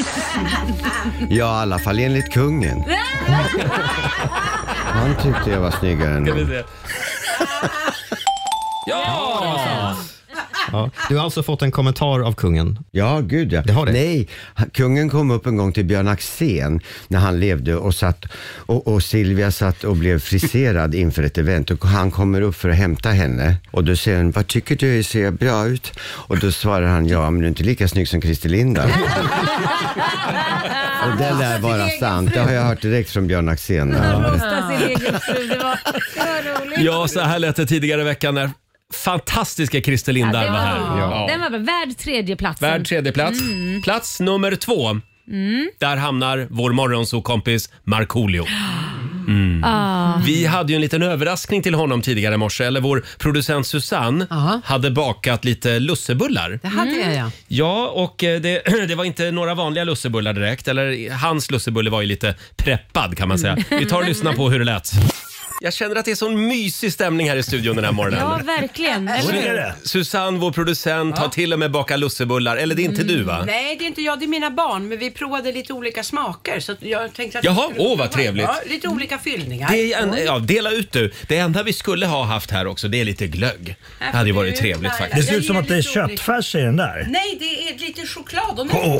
Speaker 6: ja, i alla fall enligt kungen.
Speaker 17: Han tyckte jag var snyggare än
Speaker 6: Ska vi
Speaker 17: hon.
Speaker 1: se. Ja!
Speaker 6: Ja. Du har alltså fått en kommentar av kungen.
Speaker 17: Ja, gud ja. Nej, han- kungen kom upp en gång till Björn Axén när han levde och, satt, och, och Silvia satt och blev friserad inför ett event och han kommer upp för att hämta henne och då säger hon, vad tycker du, ser jag bra ut? Och då svarar han, ja men du är inte lika snygg som Christer Lindarw. och det lär vara sant, det har jag hört direkt från Björn Axén.
Speaker 2: Rosta sin egen fru. Det var, det var roligt.
Speaker 1: Ja, så här lät det tidigare i veckan när fantastiska Christer Lindarw
Speaker 2: det
Speaker 1: var
Speaker 2: var
Speaker 1: här.
Speaker 2: bra. Den var bra. Värd tredjeplatsen.
Speaker 1: Värd tredje plats.
Speaker 2: Mm.
Speaker 1: Plats nummer två.
Speaker 2: Mm.
Speaker 1: Där hamnar vår morgonsokompis Markoolio. Mm.
Speaker 2: Ah.
Speaker 1: Vi hade ju en liten överraskning till honom tidigare i morse. Eller vår producent Susanne hade bakat lite lussebullar.
Speaker 7: Det hade jag ja.
Speaker 1: Ja, och eh, det, det var inte några vanliga lussebullar direkt. Eller hans lussebulle var ju lite preppad kan man säga.
Speaker 2: Mm.
Speaker 1: Vi tar och lyssnar på hur det lät. Jag känner att det är sån mysig stämning här i studion den här morgonen.
Speaker 2: Ja, verkligen.
Speaker 1: Susanne, vår producent, har till och med bakat lussebullar. Eller det är
Speaker 2: Mm,
Speaker 1: inte du va?
Speaker 7: Nej, det är inte jag, det är mina barn. Men vi provade lite olika smaker. Så att jag tänkte att
Speaker 1: Jaha,
Speaker 7: vi skulle
Speaker 1: åh, vad
Speaker 7: prova.
Speaker 1: trevligt.
Speaker 7: Ja, lite olika fyllningar.
Speaker 1: Det är en,
Speaker 7: Mm.
Speaker 1: ja, dela ut du. Det enda vi skulle ha haft här också, det är lite glögg. Det hade ju varit trevligt
Speaker 4: Det
Speaker 1: faktiskt.
Speaker 4: ser ut som att det är köttfärs i den där.
Speaker 7: Nej, det är lite choklad. De är
Speaker 4: Åh,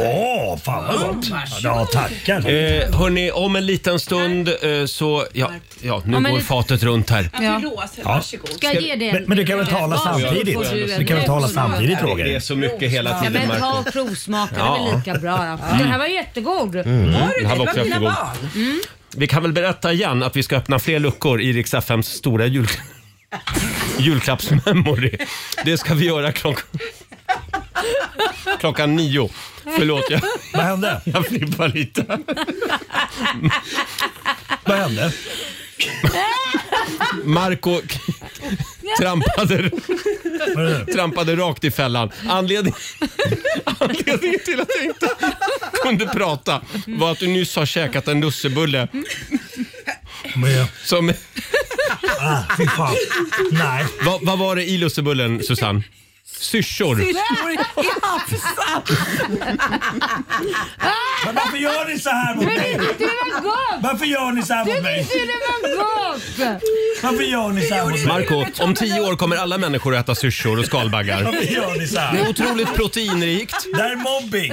Speaker 7: lite-
Speaker 4: fan vad gott!
Speaker 7: Mm,
Speaker 4: Ja, tackar.
Speaker 1: Eh, hörni, om en liten stund eh, så... Ja, ja nu
Speaker 2: Om en
Speaker 1: går
Speaker 2: lit-
Speaker 1: fatet runt här.
Speaker 2: Ska jag ge dig en-
Speaker 4: Men- men du kan väl tala
Speaker 2: Varsågod,
Speaker 4: samtidigt?
Speaker 2: får en
Speaker 4: Du kan väl tala
Speaker 2: provsmak.
Speaker 4: samtidigt, Roger?
Speaker 1: Det är så mycket hela
Speaker 2: Ja,
Speaker 1: tiden,
Speaker 2: men ta
Speaker 1: Marco.
Speaker 2: och provsmaka, det
Speaker 1: Ja.
Speaker 2: är väl lika bra.
Speaker 1: Mm.
Speaker 2: Den här var jättegod.
Speaker 1: Mm. Var det Den här det? var Det var också mina jättegod. barn.
Speaker 2: Mm.
Speaker 1: Vi kan väl berätta igen att vi ska öppna fler luckor i Rix FMs stora jul... julklappsmemory. Det ska vi göra klockan... Klockan nio. Förlåt, jag...
Speaker 4: Vad hände?
Speaker 1: Jag flippar lite.
Speaker 4: Vad hände?
Speaker 1: Marco trampade, trampade rakt i fällan. Anledning, anledningen till att jag inte kunde prata var att du nyss har käkat en lussebulle. Som...
Speaker 4: Ah, fy fan. Nej.
Speaker 1: Vad, vad var det i lussebullen, Susanne? Syrsor.
Speaker 11: Syrsor i Hafsa!
Speaker 4: Men varför gör ni så här mot
Speaker 11: Men
Speaker 4: mig?
Speaker 11: det tyckte det var gott!
Speaker 4: Varför gör ni så här
Speaker 11: Du
Speaker 4: mot mig?
Speaker 11: tyckte det var gott!
Speaker 4: Varför gör ni så här mot mig?
Speaker 1: Marco, om tio år kommer alla människor att äta syrsor och skalbaggar.
Speaker 4: Varför gör ni så här?
Speaker 1: Det är otroligt proteinrikt.
Speaker 4: Det här är mobbing.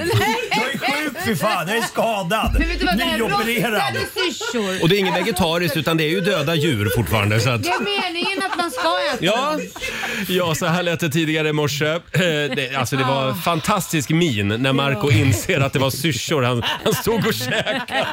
Speaker 4: Jag är sjuk för fan. Jag är skadad.
Speaker 2: Men vet du vad, det här
Speaker 4: Nyopererad.
Speaker 2: rostade syrsor.
Speaker 1: Och det är inget vegetariskt utan det är ju döda djur fortfarande. Så att...
Speaker 2: Det är meningen att man ska äta.
Speaker 1: Ja. ja, så här lät det tidigare i morse. Eh, Det, alltså det var fantastisk min när Marco inser att det var syrsor han, han stod och käkade.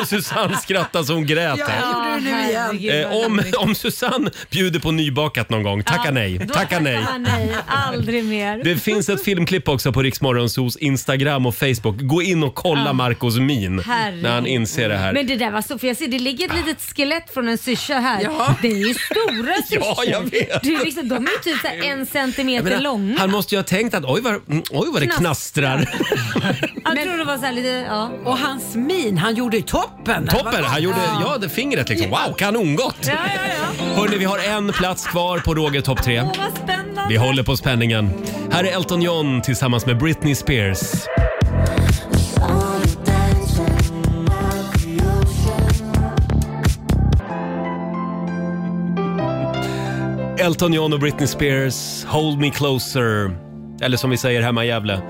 Speaker 1: Och Susanne skrattade så hon grät.
Speaker 11: Ja,
Speaker 1: här.
Speaker 11: jag gjorde det nu igen.
Speaker 1: Eh, om, om Susanne bjuder på nybakat någon gång, tacka nej.
Speaker 2: Då
Speaker 1: Tacka nej.
Speaker 2: tackar nej. Aldrig mer.
Speaker 1: Det finns ett filmklipp också på Riksmorgonsos Instagram och Facebook. Gå in och kolla
Speaker 2: Ja.
Speaker 1: Marcos min
Speaker 2: Herregud.
Speaker 1: när han inser det här. Ah.
Speaker 2: Men det där var så, för jag ser det ligger ett litet skelett från en syrsa här.
Speaker 1: Ja.
Speaker 2: Det är ju stora syrsor.
Speaker 1: Ja, jag vet.
Speaker 2: Det är liksom, de är ju typ så här en
Speaker 1: Jag
Speaker 2: centimeter
Speaker 1: menar,
Speaker 2: långa.
Speaker 1: han måste ju ha tänkt att oj vad, mm, oj, vad det knastrar.
Speaker 2: Han tror det var så här lite, ja.
Speaker 7: Och hans min, han gjorde ju toppen.
Speaker 1: Toppen! Han gjorde ja, det fingret liksom. Wow, kanongott!
Speaker 2: Ja, ja, ja.
Speaker 1: Hörni, vi har en plats kvar på Roger topp 3.
Speaker 2: Åh, vad spännande.
Speaker 1: Vi håller på spänningen. Här är Elton John tillsammans med Britney Spears. Elton John och Britney Spears, Hold Me Closer. Eller som vi säger hemma i Gävle,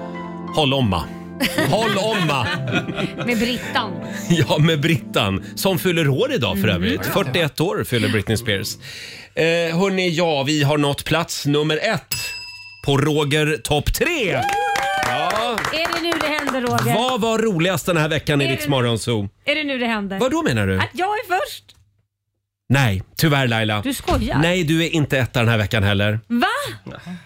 Speaker 1: Håll omma. Håll omma!
Speaker 2: Med Brittan.
Speaker 1: Ja, med Brittan som fyller år idag
Speaker 2: Mm.
Speaker 1: för övrigt. 41 år fyller Britney Spears. Eh, hörni, ja, vi har nått plats nummer ett på Roger topp tre. Ja.
Speaker 2: Är det nu det händer Roger?
Speaker 1: Vad var roligast den här veckan i
Speaker 2: Är det-
Speaker 1: Rix Morgonzoo?
Speaker 2: Är det nu det händer?
Speaker 1: Vad då menar du?
Speaker 2: Att jag är först?
Speaker 1: Nej, tyvärr Laila.
Speaker 2: Du skojar?
Speaker 1: Nej, du är inte etta den här veckan heller.
Speaker 2: Va?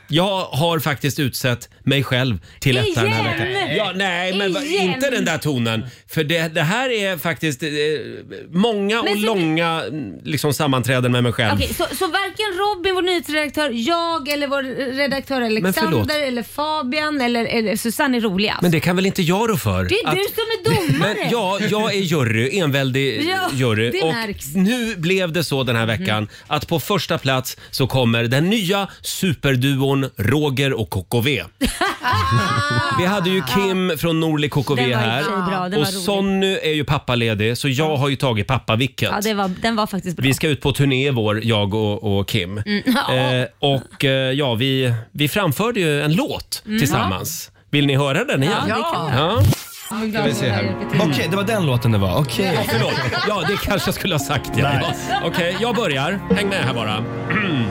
Speaker 1: Jag har faktiskt utsett mig själv till etta den här
Speaker 11: Igen?
Speaker 1: veckan. Ja, nej, men va-
Speaker 11: Igen?
Speaker 1: inte den där tonen. För det, det här är faktiskt eh, många och långa liksom, sammanträden med mig själv.
Speaker 2: Okej, så, så varken Robin, vår nyhetsredaktör, jag eller vår redaktör
Speaker 1: förlåt.
Speaker 2: Alexander eller Fabian eller, eller Susanne är roligast?
Speaker 1: Men det kan väl inte jag rå för?
Speaker 2: Alltså, det är du som är domare!
Speaker 1: men ja, jag är jury, enväldig
Speaker 2: Ja,
Speaker 1: jury.
Speaker 2: det
Speaker 1: och
Speaker 2: märks. Mhm.
Speaker 1: nu blev det så den här veckan att på första plats så kommer den nya superduon Roger och KKV. Vi hade ju Kim från Norli KKV
Speaker 2: Den var i och för
Speaker 1: här
Speaker 2: sig bra, den var
Speaker 1: och
Speaker 2: rolig.
Speaker 1: Sonny är ju pappaledig så jag har ju tagit pappavicket.
Speaker 2: Ja, det var, den var faktiskt bra.
Speaker 1: Vi ska ut på turné i vår, jag och, och Kim.
Speaker 2: Mm, ja.
Speaker 1: Eh, och eh, ja, vi, vi framförde ju en låt
Speaker 2: Mm.
Speaker 1: tillsammans. Vill ni höra den
Speaker 2: Ja,
Speaker 1: igen?
Speaker 2: det kan vi.
Speaker 1: Ja. Eh,
Speaker 2: Ska vi se här.
Speaker 1: Okej, det var den låten det var.
Speaker 2: Okej.
Speaker 1: Ja, förlåt. Ja, det kanske jag skulle ha sagt. Ja. Ja. Okej, jag börjar. Häng med här bara. Mm.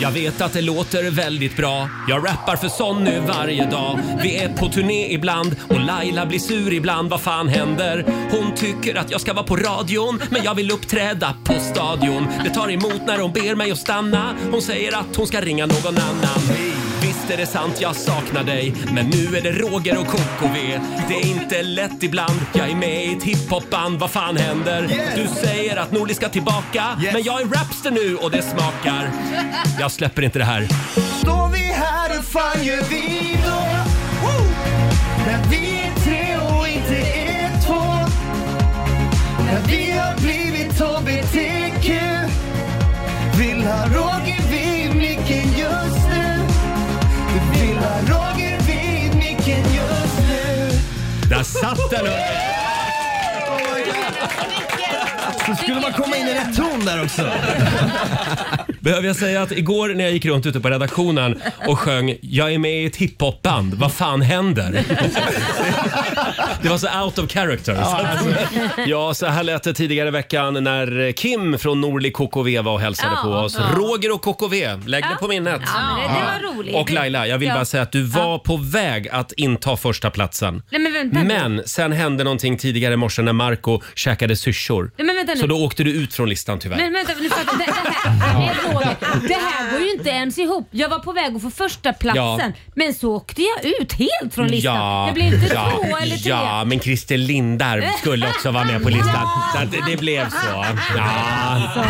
Speaker 1: Jag vet att det låter väldigt bra. Jag rappar för Sonny varje dag. Vi är på turné ibland och Laila blir sur ibland. Vad fan händer? Hon tycker att jag ska vara på radion, men jag vill uppträda på stadion. Det tar emot när hon ber mig att stanna. Hon säger att hon ska ringa någon annan. Visst är det sant, jag saknar dig. Men nu är det Roger och KKV. Det är inte lätt ibland. Jag är med i ett hiphopband. Vad fan händer?
Speaker 11: Yes.
Speaker 1: Du säger att Norli ska tillbaka. Men jag är rapster nu och det smakar. Jag släpper inte det här.
Speaker 11: Står vi här och fan gör vi då? Woo! När vi är tre och inte är två När vi har blivit HBTQ Vill ha Roger vid micken just nu Vill ha Roger vid micken just nu
Speaker 1: Där satt den!
Speaker 18: Så skulle man komma in i rätt ton där också.
Speaker 1: Behöver jag säga att igår när jag gick runt ute på redaktionen och sjöng “Jag är med i ett hiphopband, vad fan händer?” Det var så out of character. Så att-
Speaker 11: alltså.
Speaker 1: Ja, så här lät det tidigare i veckan när Kim från Norli KKV var och hälsade
Speaker 2: Ja,
Speaker 1: på oss.
Speaker 2: ja.
Speaker 1: Roger och KKV, lägg det på minnet.
Speaker 2: Ja, men det, det var roligt.
Speaker 1: Och Laila, jag vill
Speaker 2: Ja.
Speaker 1: bara säga att du var på väg att inta första platsen.
Speaker 2: Nej men vänta nu.
Speaker 1: Men sen hände någonting tidigare i morse när Marco käkade syrsor.
Speaker 2: Nej, men vänta nu.
Speaker 1: Så då åkte du ut från listan tyvärr.
Speaker 2: Men vänta, nu fattar jag. Det, det, här, nej, Roger, det här går ju inte ens ihop. Jag var på väg att få första platsen
Speaker 1: Ja.
Speaker 2: men så åkte jag ut helt från listan. jag blev inte
Speaker 1: ja,
Speaker 2: två eller tre.
Speaker 1: Ja, men Christer Lindarw skulle också vara med på listan. Så att det- det blev så. Ja.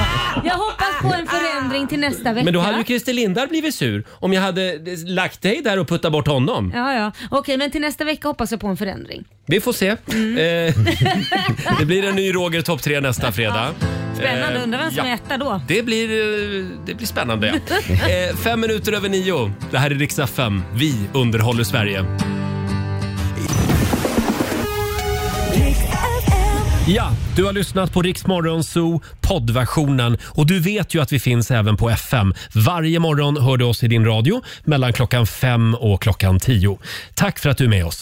Speaker 2: Jag hoppas på en förändring till nästa vecka.
Speaker 1: Men då hade ju Christer Lindarw blivit sur om jag hade lagt dig där och puttat bort honom.
Speaker 2: Ja, ja. Okej, men till nästa vecka hoppas jag på en förändring.
Speaker 1: Vi får se. Eh, det blir en ny Roger topp 3 nästa fredag.
Speaker 2: Spännande,
Speaker 1: Eh,
Speaker 2: undrar vem som
Speaker 1: ja.
Speaker 2: är etta då.
Speaker 1: Det blir, eh, det blir spännande. eh, fem minuter över nio. Det här är riksdag 5. Vi underhåller Sverige. Ja, du har lyssnat på Riksmorgon Zoo poddversionen och du vet ju att vi finns även på FM. Varje morgon hör du oss i din radio mellan klockan fem och klockan tio. Tack för att du är med oss.